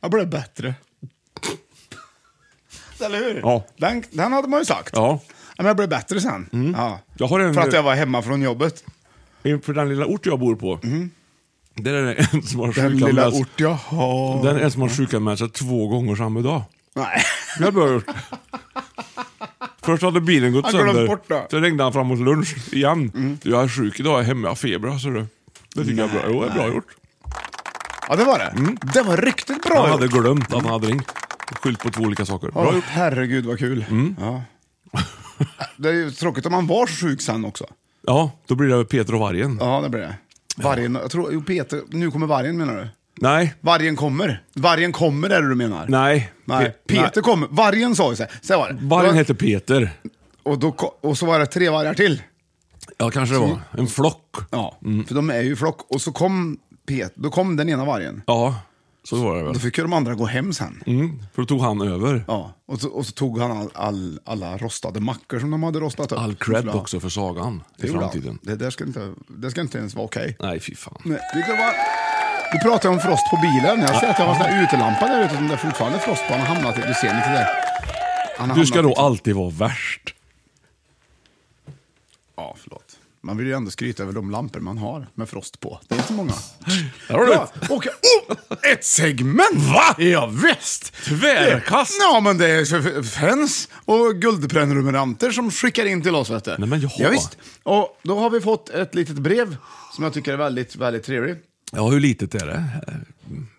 jag blev bättre. Eller hur? Ja. Den, den hade man ju sagt. Ja. Mm. Men jag blev bättre sen. Ja. Jag har en, För att jag var hemma från jobbet. Inför den lilla ort jag bor på. Där är det en som har Mhm. Den lilla sjukanmält- ort jag har. där är en som har sjukanmält sig två gånger samma dag. Nej. Det har jag gjort. Först hade bilen gått Han glömde sönder. bort Mm. det. Sen ringde han framåt lunch igen. Du, jag är sjuk idag, jag är hemma, jag har feber. Alltså, det det tycker jag är bra. Jo, det är bra gjort. Ja, det var det. Mm. Det var riktigt bra Han hade gjort. glömt att han hade ringt. Skylt på två olika saker. Bra Åh, gjort. Mm. herregud vad kul. Ja. Det är ju tråkigt om man var så sjuk sen också. Ja, då blir det Peter och vargen. Ja, det blir det. Vargen, jag tror, jo, Peter, nu kommer vargen menar du? Nej, Vargen kommer. Vargen kommer är det du menar? nej. Nej, Pe- Peter kommer. Vargen sa ju så här. Så här var det. Det Vargen var, heter Peter. och, då, ko- och så var det tre vargar till. Ja, kanske det Mm. var. En flock. Ja, Mm. för de är ju flock. Och så kom Pet, då kom den ena vargen. Ja, så var det väl. Då fick ju de andra gå hem sen. Mm, för då tog han över. Ja, och så, och så tog han all, all, alla rostade mackor som de hade rostat upp. All cred Ja, också för sagan det i gjorde han. framtiden. Det där ska inte, det ska inte ens vara okej. Nej, fy fan. Nej, Vi kan bara... Du pratar om frost på bilen. Jag ser att jag har en sån här utelampa där ute som det är fortfarande frost på. Han har hamnat i... Du ser lite där. Han har Du ska hamnat då liksom- alltid vara värst. Ja, förlåt. Man vill ju ändå skryta över de lampor man har med frost på. Det är inte många. Där har du Ja, det. och, oh, ett segment! Va? Ja, visst. Tvärkast. Ja, men det är f- f- fans och guldprenumeranter som skickar in till oss. Vet du. Nej, men jaha. ja, visst. Och då har vi fått ett litet brev som jag tycker är väldigt, väldigt trevligt. Ja, hur litet är det? Eh,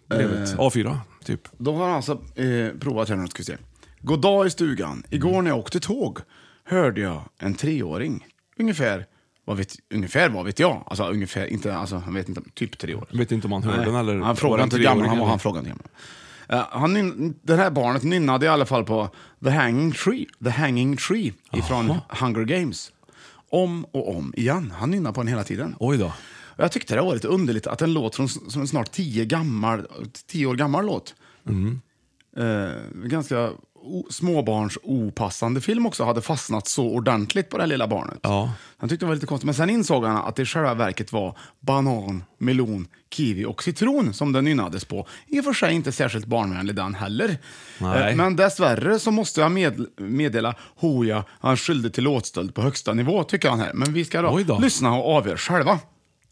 Brevet. A4, typ. De har alltså eh, provat här nu, ska vi se. God dag i stugan. Igår när jag åkte tåg hörde jag en treåring. Ungefär, vad vet, ungefär vad vet jag? Alltså ungefär, inte, alltså han vet inte, typ tre år. Jag vet inte om han hörde Nej, den eller... Han frågade inte hur gammal han var, han frågade inte gammal. Eh, han nyn- det här barnet nynnade i alla fall på The Hanging Tree, The Hanging Tree ifrån Hunger Games. Om och om igen. Han nynnar på den hela tiden. Oj då. Och Jag tyckte det var lite underligt att en låt från, som en snart tio, gammal, tio år gammal låt, Mm. eh, ganska o, småbarns opassande film också, hade fastnat så ordentligt på det här lilla barnet. Ja. Han tyckte det var lite konstigt, men sen insåg han att det i själva verket var banan, melon, kiwi och citron som den nynnades på. I och för sig inte särskilt barnvänlig den heller. Nej. Eh, Men dessvärre så måste jag med, meddela Hooja han skyldig till låtstöld på högsta nivå, tycker han här. Men vi ska då, Oj då. lyssna och avgöra själva.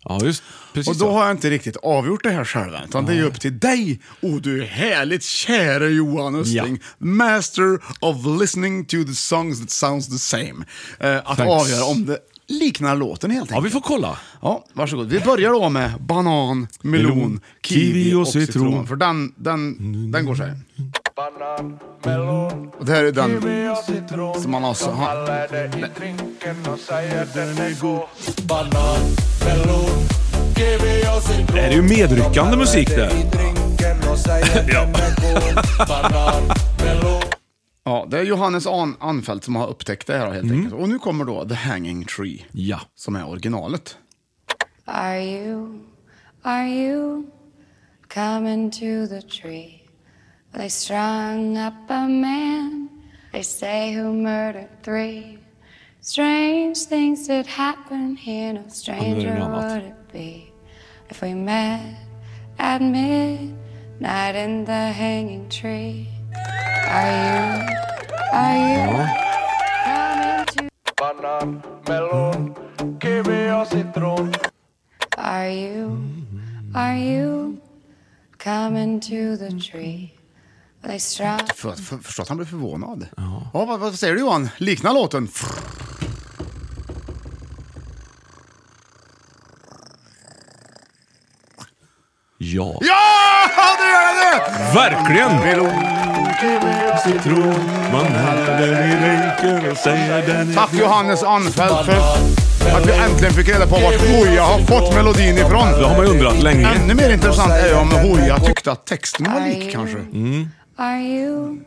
Ja, just precis. Och då har jag inte riktigt avgjort det här själv än, utan det är ju upp till dig. Och du är härligt käre Johan Östling, master of listening to the songs that sounds the same. Eh, att Thanks. avgöra om det liknar låten helt enkelt. Ja, vi får kolla. Ja, varsågod. Vi börjar då med banan, melon, Melon, kiwi, kiwi och och citron. citron. För den, den, den går så här. Banan, melon, Och det här är den kiwi och citron som man alltså... De Han, kallar det i drinken och säger den är god Banan, melon, kiwi och citron Det här är ju medryckande musik det. Ja. ja, det är Johannes An Anfeldt som har upptäckt det här helt enkelt. Och nu kommer då The Hanging Tree. Ja. Som är originalet. Are you, are you coming to the tree? They strung up a man, they say who murdered three. Strange things did happen here, no stranger något annat. would it be if we met at midnight in the hanging tree. Are you, are you coming to? Banan, melon, kiwi och citron Are you, are you coming to the tree? They strung. För, att- för, förstå att han blev förvånad. Ja, vad, vad säger du Johan? Liknar låten? Ja. Ja, det gör det nu! Verkligen! Tack Johannes Anfeldt för att vi äntligen fick reda på vart Hooja har fått melodin ifrån. Det har man ju undrat länge. Ännu mer intressant är ju om Hooja tyckte att texten var lik kanske. Are you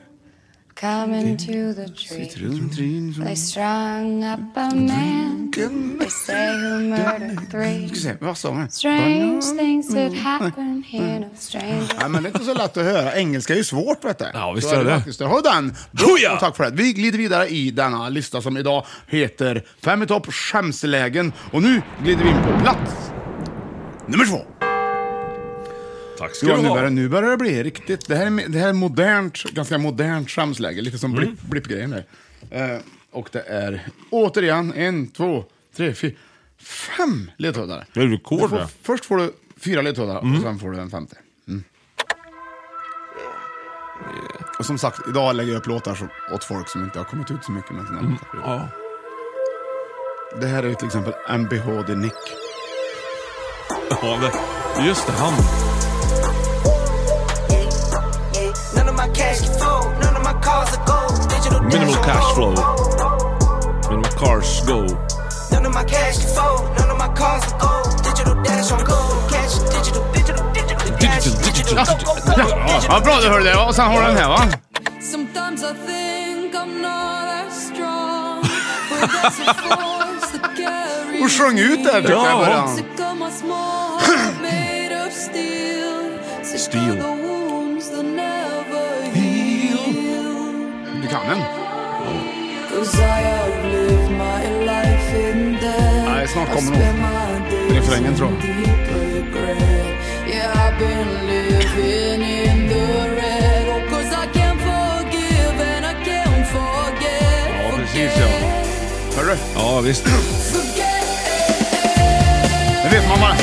coming to the tree? They strung up a man. They say who murdered three. Ska se, vad sa man? Strange things did happen here, no stranger. Nej, men det är inte så lätt att höra. Engelska är ju svårt vet du. Ja, visst är det. Där har den. Bra, tack för det. Vi glider vidare i denna lista som idag heter Fem i topp skämslägen. Och nu glider vi in på plats nummer två. Tack ska Ja, du nu, börjar, ha. nu börjar det bli riktigt. Det här är, det här är modernt, ganska modernt skämsläge. Lite som Mm. blipp, blippgrejen där. Eh, och det är återigen en, två, tre, fyra, fem ledtrådar. Det är rekord Du får- det. Först får du fyra ledtrådar och sen får du en femte. Mm. Och som sagt, idag lägger jag upp låtar som, åt folk som inte har kommit ut så mycket med sina låtar. Mm. Ja. Det här är ju till exempel MBHD Nick. Ja, det- Just det, han. None of my cash is full, none of my cars are gold Digital Minimal cash flow. Minimal cars go. None of my cash is full, none of my cars are gold Digital dash on gold, cash, digital, digital, digital cash Digital, Ja, ja, bra du hörde det. Och sen har du den här va? Sometimes I think I'm not as strong. But there's a force that carries Hon sjöng ut där tyckte jag i början. Sick of my small heart made of steel. Sick Steel. of the wounds that never heal. Du kan den. 'Cause I outlived my life in death. Nej, snart kommer I nog spent my days refrängen, tror jag. in deep regret. Yeah, I've been living in the red. Oh, 'cause I can't forgive and I can't forget. Ja, precis ja. Hörru? Ja, visst. Det vet man bara.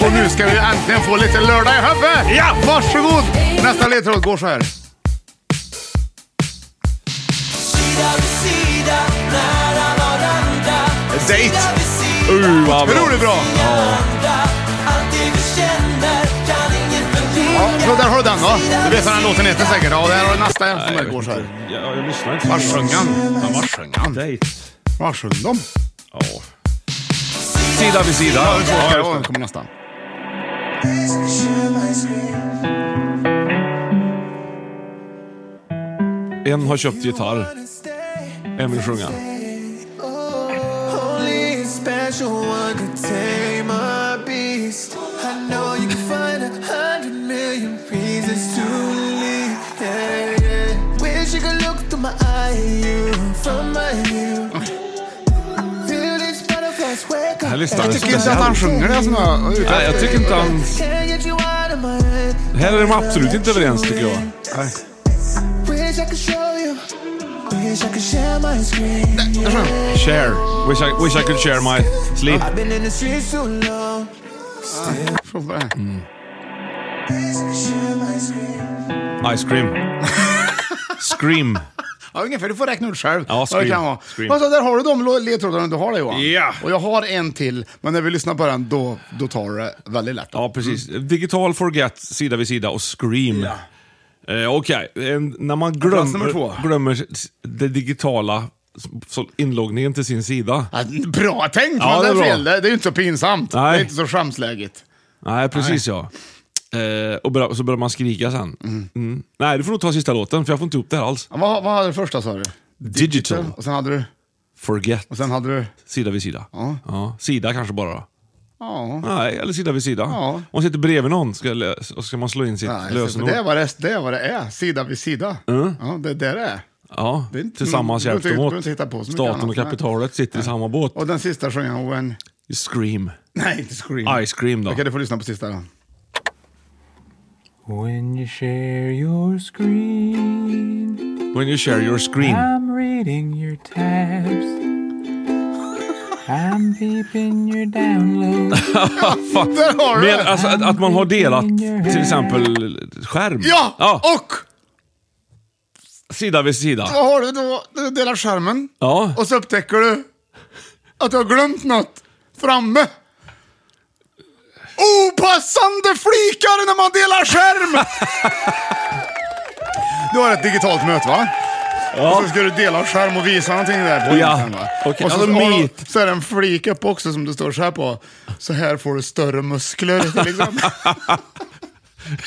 Och nu ska vi äntligen få lite lördag i huvudet! Ja! Varsågod! Nästa ledtråd går så här. Sida vid sida, nära varandra Date! Sida vid sida, Uh, vad bra. Otroligt bra! allt det vi känner kan ingen Ja, förneka så där har du den då. Du vet vad den låten heter säkert. Ja, där har du nästa som där går så här. Ja, jag lyssnar inte. Vad sjöng han? Ja, vad sjöng han? Date. Vad sjöng de? Ja. Sida vid sida. Ja, det Ja, är just två. det. Den kommer nästa. En har köpt gitarr. En vill sjunga. Only a special one could tame a beast. I know you can find a hundred million reasons to leave. Yeah, yeah. Wish you could look through my eye, you from my view. Feel these butterflies wake up. Här lyssnar Jag han. tycker inte att han sjunger det som jag är ute Nej, jag efter. tycker inte han... Can't get you out of my head. Här är de absolut inte överens tycker Wish jag. I could show you. Wish I could share my screen. Share. Wish I, wish I could share my sleep. I've been in the streets too long. Från början. Ice cream. Scream. Ja, ungefär. Du får räkna ut själv Ja, vad det kan scream. vara. Scream. Alltså, där har du de lo- ledtrådarna du har där Johan. Ja. Och jag har en till, men när vi lyssnar på den då, då tar du det väldigt lätt. Ja, precis. Digital Forget sida vid sida och Scream. Eh, Okej, Eh, när man Plats nummer två. glömmer, glömmer s- det digitala, s- så inloggningen till sin sida. Bra tänkt! Ja, men det, det är är bra. fel. det det är ju inte så pinsamt. Nej. Det är inte så skämsläget. Nej, precis ja. Eh, och börja- så börjar man skrika sen. Mm. Nej, du får nog ta sista låten, för jag får inte ihop det här alls. Vad, vad hade du första sa du? Digital. Och sen hade du? Forget. Och sen hade du? Sida vid sida. Ja. Sida kanske bara då. Ja. Nej, eller sida vid sida. Ja. Om man sitter bredvid någon ska, lö- och ska man slå in sitt Nej, så lösenord. det, är vad det, det är vad det är, sida vid sida. Mm. Ja, det är det det är. Ja, Det är inte- tillsammans du hjälps Mm. behöver de inte- åt. behöver inte hitta på så mycket Staten annat. och kapitalet sitter i samma båt. Och den sista sjöng han When... Scream. Nej, inte Scream. Ice cream då. Mm. Okej, du får lyssna på sista då. When you share your screen, When you share your screen. I'm reading your tabs. I'm peeping your downloads. Fan. Där har du Men, det. alltså, att, att man har delat till exempel skärm. Ja, och! Sida vid sida. Vad har du då? Du delar skärmen Ja. och så upptäcker du att du har glömt något framme. Opassande flikar när man delar skärm! du har ett digitalt möte va? Och så ska du dela skärm och visa någonting där på Ja, internet, va? okej. Och så, Alltså, har du- meet. så är det en flik upp också som det står så här på. Så här får du större muskler till exempel.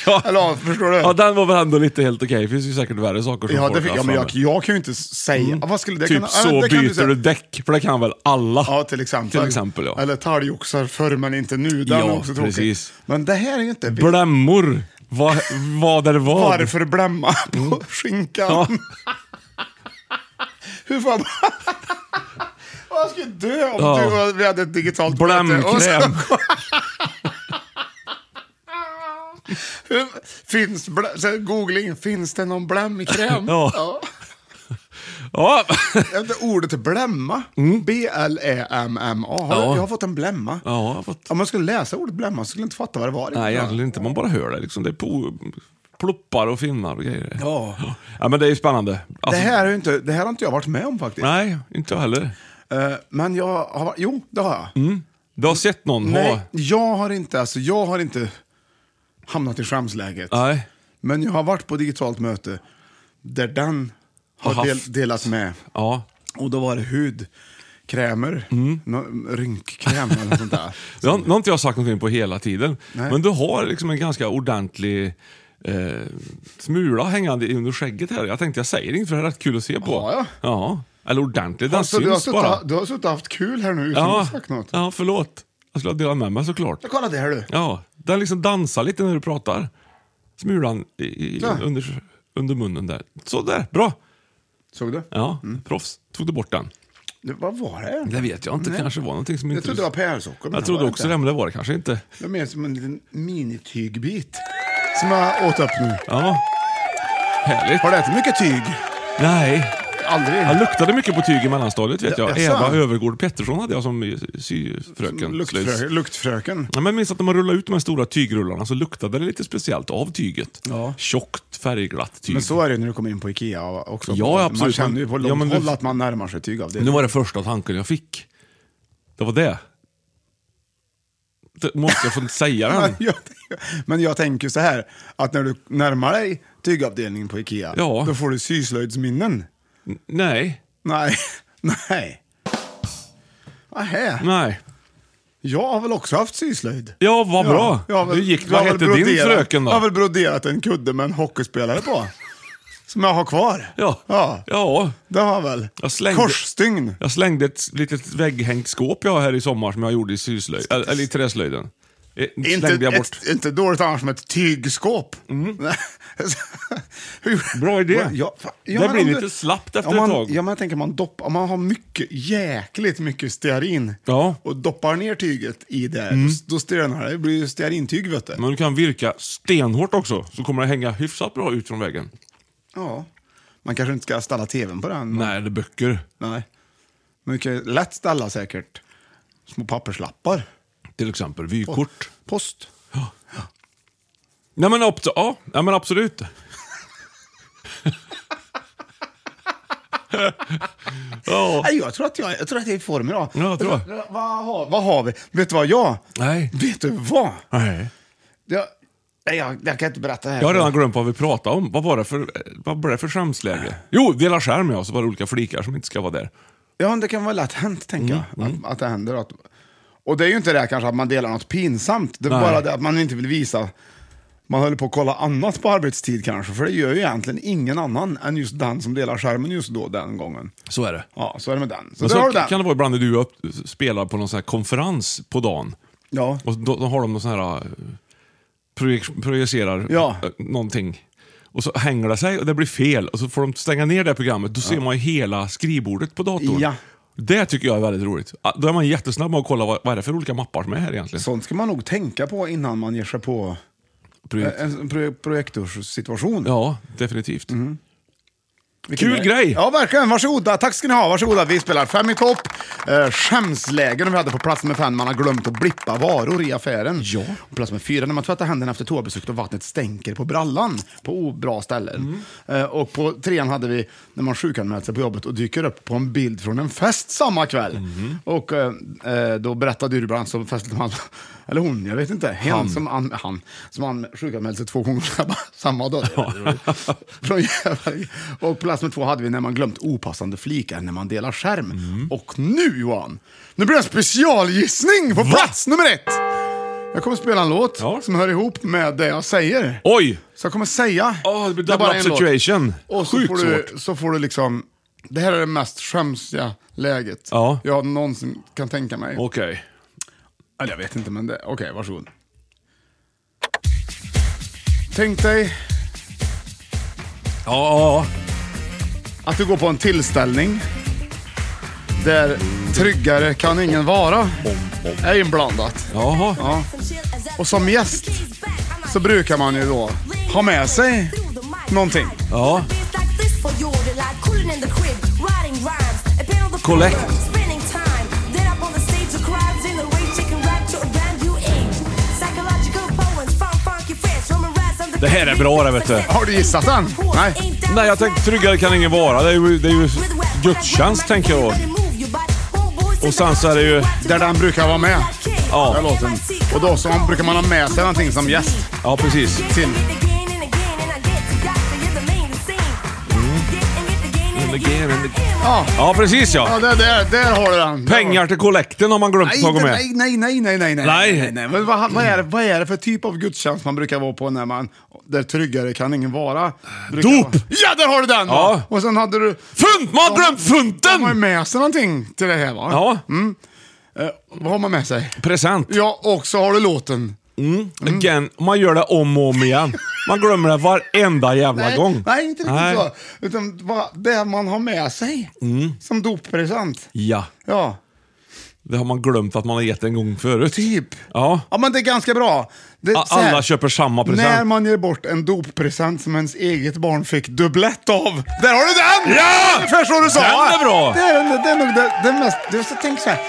Ja. Eller ja, förstår du? Ja, den var väl ändå lite helt okej. Det finns ju säkert värre saker som Ja, folk det, fick- har ja, men för jag, mig. jag kan ju inte säga... Vad skulle det Typ kunna... ja, så det kan byter säga. du däck, för det kan väl alla? Ja, till exempel. Till exempel, ja. Eller talgoxar förr men inte nu. Den är ja, också tråkig. precis. Men det här är ju inte... Blämmor. Vad vad är vad? Varför blämma på skinkan? Mm. Ja. Hur fan... jag skulle dö om Ja. du och vi hade ett digitalt möte. Och så- Blämkräm. Hur- Finns blä... så här, Googling, finns det någon blämkräm? Ja. Ja. Jag vet inte, Ordet blämma, E B-L-E-M-M-A. Har Mm. Ja. Jag har fått en blämma. Ja, jag har fått... Om man skulle läsa ordet blämma så skulle jag inte fatta vad det var. Nej, egentligen inte. Man bara hör det. Liksom. Det är po- ploppar och finnar och grejer. Ja. ja men det är ju spännande. det, Alltså, här är ju inte, det här har inte jag varit med om faktiskt. Nej, inte jag heller. Eh, men jag har... varit- Jo, det har jag. Mm. Du har sett någon Nej, ha... jag har inte, alltså, jag har inte hamnat i skämsläget. Nej. Men jag har varit på digitalt möte där den Har har del, haft. delat med. Ja. Och då var det hudkrämer, Mm. nå- rynkkräm eller något sånt där. Det har, det har inte jag sagt någonting på hela tiden. Nej. Men du har liksom en ganska ordentlig eh, smula hängande under skägget här. Jag tänkte jag säger inget för det är rätt kul att se på. Har jag? Ja. Eller ordentligt. Den Alltså, syns du, har bara. suttit, du har suttit och haft kul här nu utan Ja. att ha sagt något. ja, förlåt. Jag skulle ha delat med mig såklart. Ja, kolla det här du. Ja, den liksom dansar lite när du pratar. Smulan i, i, Ja. under, under munnen där. Så där, bra. Såg du? Ja, proffs. Tog du bort den? Det, vad var det? Det vet jag inte. Nej. kanske var någonting som Jag inte... trodde det var pärlsocker, men Jag det trodde var det också inte. det, men det var det kanske inte. Det är mer som en liten minitygbit som jag åt upp nu. Ja. Härligt. Har du ätit mycket tyg? Nej. Aldrig. Jag luktade mycket på tyg i mellanstadiet vet jag. Jaså? Eva Övergård Pettersson hade jag som syfröken. Luktfrö, luktfröken. Ja, men jag minns att när man rullade ut de här stora tygrullarna så luktade det lite speciellt av tyget. Ja. Tjockt, färgglatt tyg. Men så är det ju när du kommer in på Ikea också. Ja, Man absolut. känner ju på Men- långt ja, men du- håll att man närmar sig tyg av det. Nu var det första tanken jag fick. Det var det. det måste jag få säga den? men, jag, men jag tänker så här, att när du närmar dig tygavdelningen på Ikea, Ja. då får du syslöjdsminnen. Nej. Nej, nej. Ahä. Nej. Jag har väl också haft syslöjd. Ja, vad bra. jag har väl- du gick, jag vad har väl hette din broderat- fröken då? Jag har väl broderat en kudde med en hockeyspelare på. som jag har kvar. Ja. Ja, ja. det har jag väl. Jag slängde, Korsstygn. jag slängde ett litet vägghängt skåp jag har här i sommar som jag gjorde i syslöjd, eller eller i träslöjden. Eh, Slängde Inte, jag bort. Mm. ett, inte dåligt annars som ett tygskåp. Hur- Bra idé. Ja, fa- ja, det men blir om du- lite slappt efter om man, ett tag. Ja, men jag tänker man doppar, om man har mycket, jäkligt mycket stearin Ja. Mm. och doppar ner tyget i det, då stelnar det. Det blir ju stearintyg vet du. Men du kan virka stenhårt också, så kommer det hänga hyfsat bra ut från väggen. Ja. Man kanske inte ska ställa tvn på den. Nej, det är böcker. Nej. Men du kan ju lätt ställa säkert små papperslappar. Till exempel vykort. Post. Nej men, opt- ja, ja, men absolut. ja. Nej, jag, tror att jag, jag tror att jag är i form idag. Ja, jag tror. Vad, har, vad har vi? Vet du vad jag? Nej. Vet du vad? Nej. Jag, nej, jag, jag kan inte berätta här. Jag har redan glömt vad vi pratade om. Vad var det för, vad var det för skämsläge? Jo, dela skärm ja, så var det olika flikar som inte ska vara där. Ja, men det kan vara lätt hänt, tänker Mm, jag. Att, att det händer. Att, och det är ju inte det här kanske att man delar något pinsamt. Det är Nej. bara det att man inte vill visa. Man håller på att kolla annat på arbetstid kanske. För det gör ju egentligen ingen annan än just den som delar skärmen just då, den gången. Så är det. Ja, så är det med den. Så Men där har så du den. kan det vara ibland när du upp, spelar på någon sån här konferens på dagen. Ja. Och då, då har de någon sån här... eh, Projek- projicerar Ja. eh, någonting. Och så hänger det sig och det blir fel. Och så får de stänga ner det här programmet. Då ser man ju hela skrivbordet på datorn. Ja. Det tycker jag är väldigt roligt. Ah, Då är man jättesnabb med att kolla vad, vad är det för olika mappar som är här egentligen. Sånt ska man nog tänka på innan man ger sig på eh, Projekt. en, en pro- projektorssituation. Ja, definitivt. Mhm. Vilken Kul är- grej! Ja, verkligen. Varsågoda. Tack ska ni ha. Varsågoda. Vi spelar Fem i topp. Eh, skämslägen vi hade på plats nummer fem. Man har glömt att blippa varor i affären. Ja. Plats nummer fyra. När man tvättar händerna efter toabesöket och vattnet stänker på brallan på obra ställen. Eh, och på trean hade vi när man sjukanmält sig på jobbet och dyker upp på en bild från en fest samma kväll. Och eh, eh, då berättade du bland annat som festen han, eller hon, jag vet inte, hen Han. som an, han som han sjukanmälde sig två gånger samma- samma dag. Det är väldigt roligt. Från Gävle. och plats nummer två hade vi när man glömt opassande flikar när man delar skärm. Och nu Johan, nu blir det en specialgissning på plats nummer ett! Jag kommer spela en låt som hör ihop med det jag säger. Oj! Så jag kommer säga... Oh, det blir är double bara up en låt. situation. Och så Sjukt får, du, svårt. så får du liksom... Det här är det mest skämsiga läget Ja. jag någonsin kan tänka mig. Okej. Eller jag vet inte, men det... Okej, varsågod. Tänk dig Ja, ja, att du går på en tillställning där tryggare kan ingen vara är inblandat. Jaha. Ja. Och som gäst så brukar man ju då ha med sig någonting. ja. Collect. Det här är bra det vet du. Har du gissat den? Nej. Nej, jag tänkte tryggare kan ingen vara. Det är ju, det är ju gudstjänst tänker jag. Och sen så är det ju... Där den brukar vara med. Ja. Den låten. Och då så brukar man ha med sig någonting som gäst. Ja, precis. Till. Ja. Ja, precis Ja, Oh, ja. där, där, där har du den. Där har du den. Pengar till kollekten har man glömt att Nej, ta med. nej, nej, nej, nej, nej, nej, Nej. nej, nej. Men vad, vad, är det, vad är det för typ av gudstjänst man brukar vara på när man, där tryggare kan ingen vara? Brukar Dop! vara- Ja, där har du den! Ja. Va? Och sen hade du... Funt! Man har De- glömt De har ju Mm. funten! med sig någonting till det här va? Ja, Vad har man med sig? present. Ja, och så har du låten. Mm. Again, man gör det om och om igen. Man glömmer det varenda jävla Nej, gång. nej inte riktigt Nej. så. Utan vad, det man har med sig Mm. som doppresent. Ja, Ja, det har man glömt att man har gett en gång förut. typ. Ja. Ja, men det är ganska bra. Det, A- så här, alla köper samma present. När man ger bort en doppresent som ens eget barn fick dubblett av. Där har du den! Ja! Ungefär så du sa. Den är bra! Det är, den- det är nog det, det mest... Du ska tänka så här.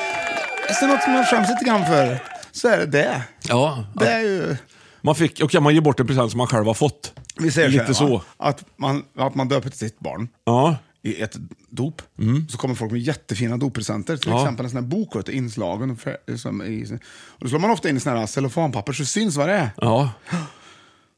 Är det något som jag skäms lite grann för så är det det. Ja, Det är ju... man fick... Okej, man ger bort en present som man själv har fått. Vi säger Lite så. här, så. va? Att, man, att man döper till sitt barn. Ja. Mm. i ett dop. Så kommer folk med jättefina doppresenter. Till Ja. exempel en sån här bok, vet du, inslagen. och fär- Som i, och då slår man ofta in i sån här cellofanpapper så syns vad det är. Ja.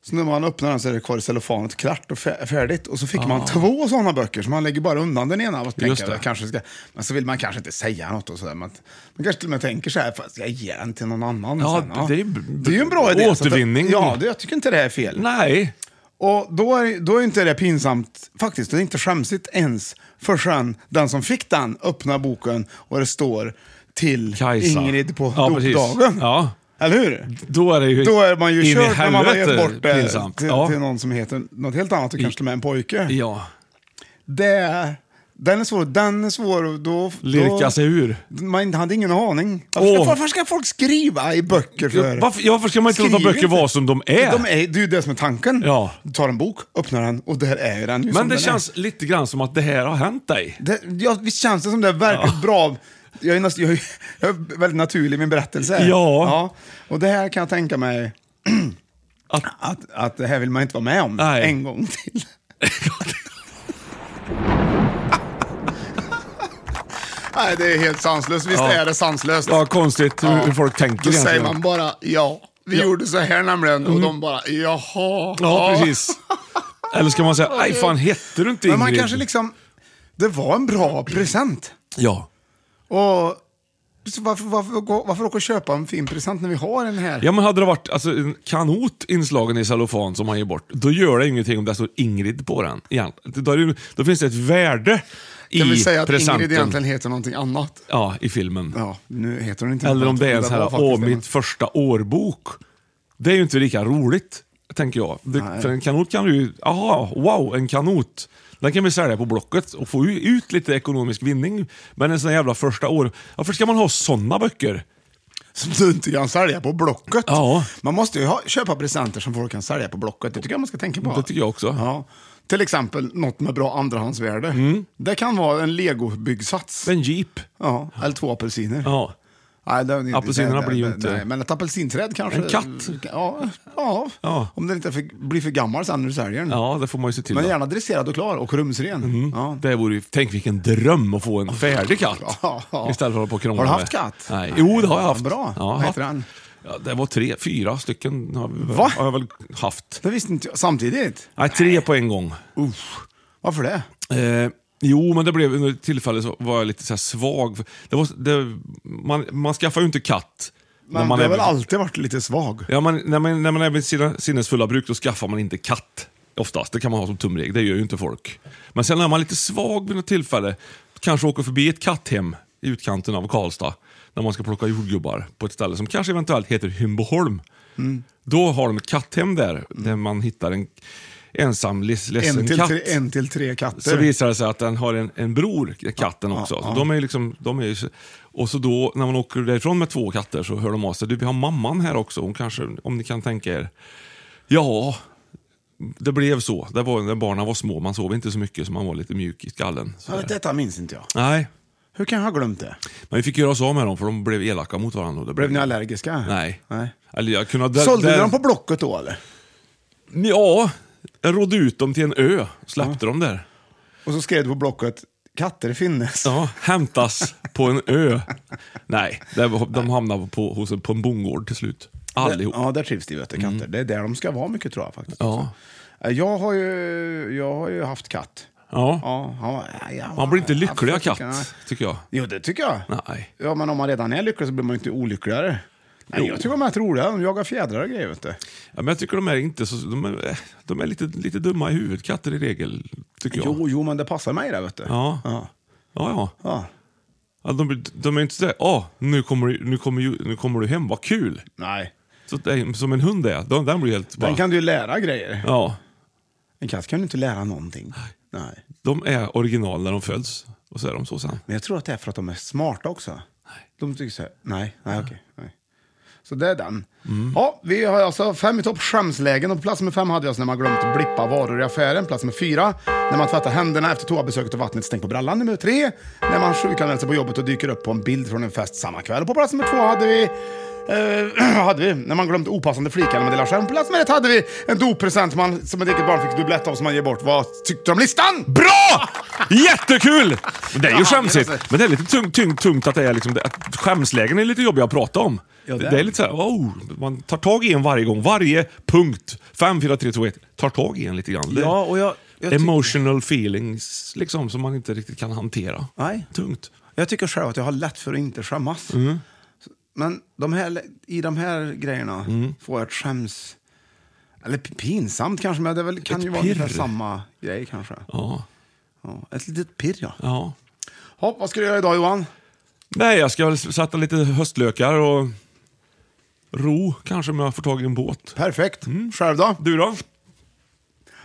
Så när man öppnar den så är det kvar i cellofanet, klart och fär- färdigt. Och så fick man två såna böcker, så man lägger bara undan den ena. Och Ah. Just tänker, det. jag kanske ska, men så vill man kanske inte säga något. Och så där. Man, man kanske till och med tänker så här, "Fan, ska jag ge den till någon annan? Ja, sen, det är b- det är ju en bra idé. så att- återvinning. Ja, det, jag tycker inte det här är fel. Nej. Och då är, då är inte det pinsamt, faktiskt. Det är inte skämsigt ens förrän den som fick den öppnar boken och det står till Kajsa. Ingrid på Ja, precis. dopdagen. Ja. Eller hur? Då är det ju Då är man in i ju kört när man har gett helvete bort det pinsamt. till, Ja. till någon som heter något helt annat och kanske till och med en pojke. Ja. Det, den är svår. Den är svår. och Då, Lirka då, sig ur. Man hade ingen aning. Varför, ska, Åh. varför ska folk skriva i böcker? För? Varför, ja, varför ska man inte låta Skriv böcker inte. vara som de är? De är, det är ju det som är tanken. Ja. Du tar en bok, öppnar den och där är ju den. ju som Men det den är. känns lite grann som att det här har hänt dig. Det, ja, visst känns det som det är verkligt bra. Jag är, näst, jag, är- jag är väldigt naturlig i min berättelse. Ja. Och det här kan jag tänka mig Att, att, att det här vill man inte vara med om en gång till. Nej, det är helt sanslöst. Visst Ja. är det sanslöst? Ja, konstigt hur, hur folk tänker Då säger egentligen. man bara ja. Vi Ja. gjorde så här nämligen och Mm. de bara jaha. Ja, precis. Eller ska man säga, nej fan hette du inte Men Ingrid? man kanske liksom, det var en bra present. Ja. Och så varför, varför, gå- varför åka och köpa en fin present när vi har en här? Ja men hade det varit alltså, en kanot inslagen i cellofan som han ger bort, då gör det ingenting om det står Ingrid på den. egentligen. Då, är det, då finns det ett värde i kan vi säga att presenten. Ingrid egentligen heter någonting annat? Ja, i filmen. Ja, nu heter hon inte Eller om något. det är Det en sån här, var faktiskt åh det. mitt första årbok. Det är ju inte lika roligt, tänker jag. Det, Nej. för en kanot kan du ju, aha, wow, en kanot. Den kan vi sälja på Blocket och få ju ut lite ekonomisk vinning. Men en sån här jävla första år, varför ska man ha såna böcker? Som du inte kan sälja på Blocket. Ja. Man måste ju ha, köpa presenter som folk kan sälja på Blocket. Det tycker jag man ska tänka på. Det tycker jag också. Ja. Till exempel något med bra andrahandsvärde. Mm. Det kan vara en legobyggsats. En jeep. Ja, eller två apelsiner. Ja. Nej, det är inte- Apelsinerna det- blir ju det- inte- Nej, men ett apelsinträd kanske. En katt. Ja, ja. Ja. om den inte är för, blir för gammal sen när du säljer den. Ja, det får man ju se till. Men då. gärna dresserad och klar och rumsren. Mm. Ja. Det vore ju, tänk vilken dröm att få en färdig katt. Istället för att hålla på och krångla Har du med. haft katt? Nej. Jo, det har jag haft. Bra. Ja, Vad heter haft. den? Ja, det var tre, fyra stycken har, vi- Va? har jag väl haft. Det visste inte jag. Samtidigt? Nej, tre på en gång. Uff. Varför det? Eh, jo, men det blev under ett tillfälle så var jag lite så här svag. Det var, det, man, man skaffar ju inte katt. Men man du är har väl vid- alltid varit lite svag? Ja, man, när, man, när man är vid sina sinnesfulla bruk, då skaffar man inte katt. Oftast, det kan man ha som tumregel. Det gör ju inte folk. Men sen är man lite svag vid något tillfälle. Kanske åker förbi ett katthem i utkanten av Karlstad. När man ska plocka jordgubbar på ett ställe som kanske eventuellt heter Hymboholm. Mm. Då har de ett katthem där, där man hittar en ensam les- ledsen En till, katt. tre, en till tre katter. Så visar det sig att den har en, en bror, katten också. Så de är ju liksom, de är ju, så- och så då, när man åker därifrån med två katter så hör de av sig. Du, vi har mamman här också, hon kanske, om ni kan tänka er. Ja, det blev så. Det var, när barnen var små, man sov inte så mycket så man var lite mjuk i skallen. Så Ja, där. detta minns inte jag. Nej, Hur kan jag ha glömt det? men vi fick göra oss av med dem för de blev elaka mot varandra. och Det Blev ni allergiska? Nej. Nej. Eller jag kunde, ha- där, Sålde ni där- dem på Blocket då eller? Ja, jag rådde ut dem till en ö, släppte dem där. Och så skrev du på Blocket, katter finnes. Ja, hämtas på en ö. Nej, där, de hamnar på, hos, en- på en bondgård till slut. Allihop. Mm. Ja, där trivs det ju vet du, katter. Det är där de ska vara mycket tror jag faktiskt. Eh, Ja. Jag har ju, jag har ju haft katt. Ja. Ja, han var, ja, jag var- Man blir inte lycklig av jag tycker- katt, tycker jag. Jo, det tycker jag. Nej. Ja, men om man redan är lycklig så blir man ju inte olyckligare. Nej, Jo. jag tycker de är rätt roliga. De jagar fjädrar och grejer. Vet du. Ja, men jag tycker de är inte så... De är, de är lite, lite dumma i huvudet, katter i regel, tycker jag. Jo, jo, men det passar mig det. Vet du. Ja. Ja. Ja, ja. Ja. ja de, blir- de är inte sådär, åh, nu kommer, du- nu, kommer, ju- nu kommer du hem, vad kul. Nej. Så det är, som en hund är, den, den blir helt bara... Den kan du ju lära grejer. Ja. En katt kan du inte lära någonting. Nej. De är original när de föds, och så är de så sen. Men jag tror att det är för att de är smarta också. De tycker så här, nej, nej, okej. nej. Så det är den. Mm. Ja, vi har alltså fem i topp skämslägen och på plats med fem hade jag alltså när man glömt att blippa varor i affären. Plats med fyra, när man tvättar händerna efter toabesöket och vattnet stängt på brallan. Nummer tre, när man sjukanmäler sig på jobbet och dyker upp på en bild från en fest samma kväll. Och på plats nummer två hade vi eh, hade vi, när man glömt opassande flikar när man delar skärm. På plats med ett hade vi en doppresent man, som ett eget barn fick dublett av som man ger bort. Vad tyckte du om listan? Bra! Jättekul! Men Det är ju Ja, alltså- skämsigt. det är så. Men det är lite tungt, tungt, tungt att det är liksom, att skämslägen är lite jobbiga att prata om. Ja, det det, är. är. lite såhär, oh, man tar tag i en varje gång. Varje punkt, fem, fyra, tre, två, ett, tar tag i en lite grann. Det är Ja, och jag- jag tycker- emotional feelings liksom, som man inte riktigt kan hantera. Nej. Tungt. Jag tycker själv att jag har lätt för att inte skämmas. Mm. Så- Men de här, i de här grejerna Mm. får jag ett skäms... Eller p- pinsamt kanske, men det är väl, kan Ett ju vara ungefär pirr. samma grej kanske. Ja. Ja, ett litet pirr ja. ja. Hopp, vad ska du göra idag Johan? Nej, jag ska väl sätta lite höstlökar och ro kanske om jag får tag i en båt. Perfekt. Själv då? Du då?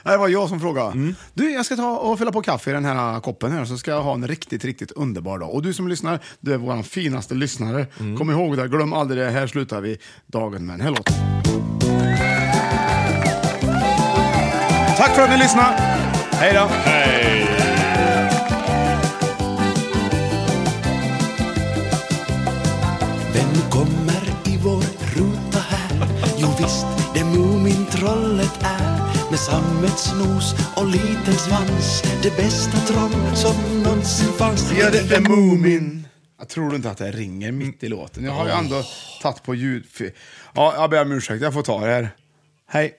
Nej, Det var jag som frågade. Du, jag ska ta och fylla på kaffe i den här koppen här så ska jag ha en riktigt, riktigt underbar dag. Och du som lyssnar, du är vår finaste lyssnare. Kom ihåg det, glöm aldrig det. Här slutar vi dagen med en här låten. Tack för att ni lyssnade. Hej då. Vem kommer i vår ruta här? Jo visst, det är Mumintrollet havets nos och liten svans Det bästa troll som någonsin fanns Ja, det är Moomin. Mm. Jag tror inte att det ringer mitt i låten. Jag har ju ändå tagit på ljud... fy- Ja, jag ber om ursäkt, jag får ta det här. Hej.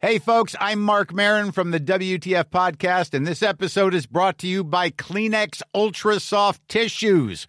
Hey, folks, I'm Mark Marin from the WTF Podcast, and this episode is brought to you by Kleenex Ultra Soft Tissues,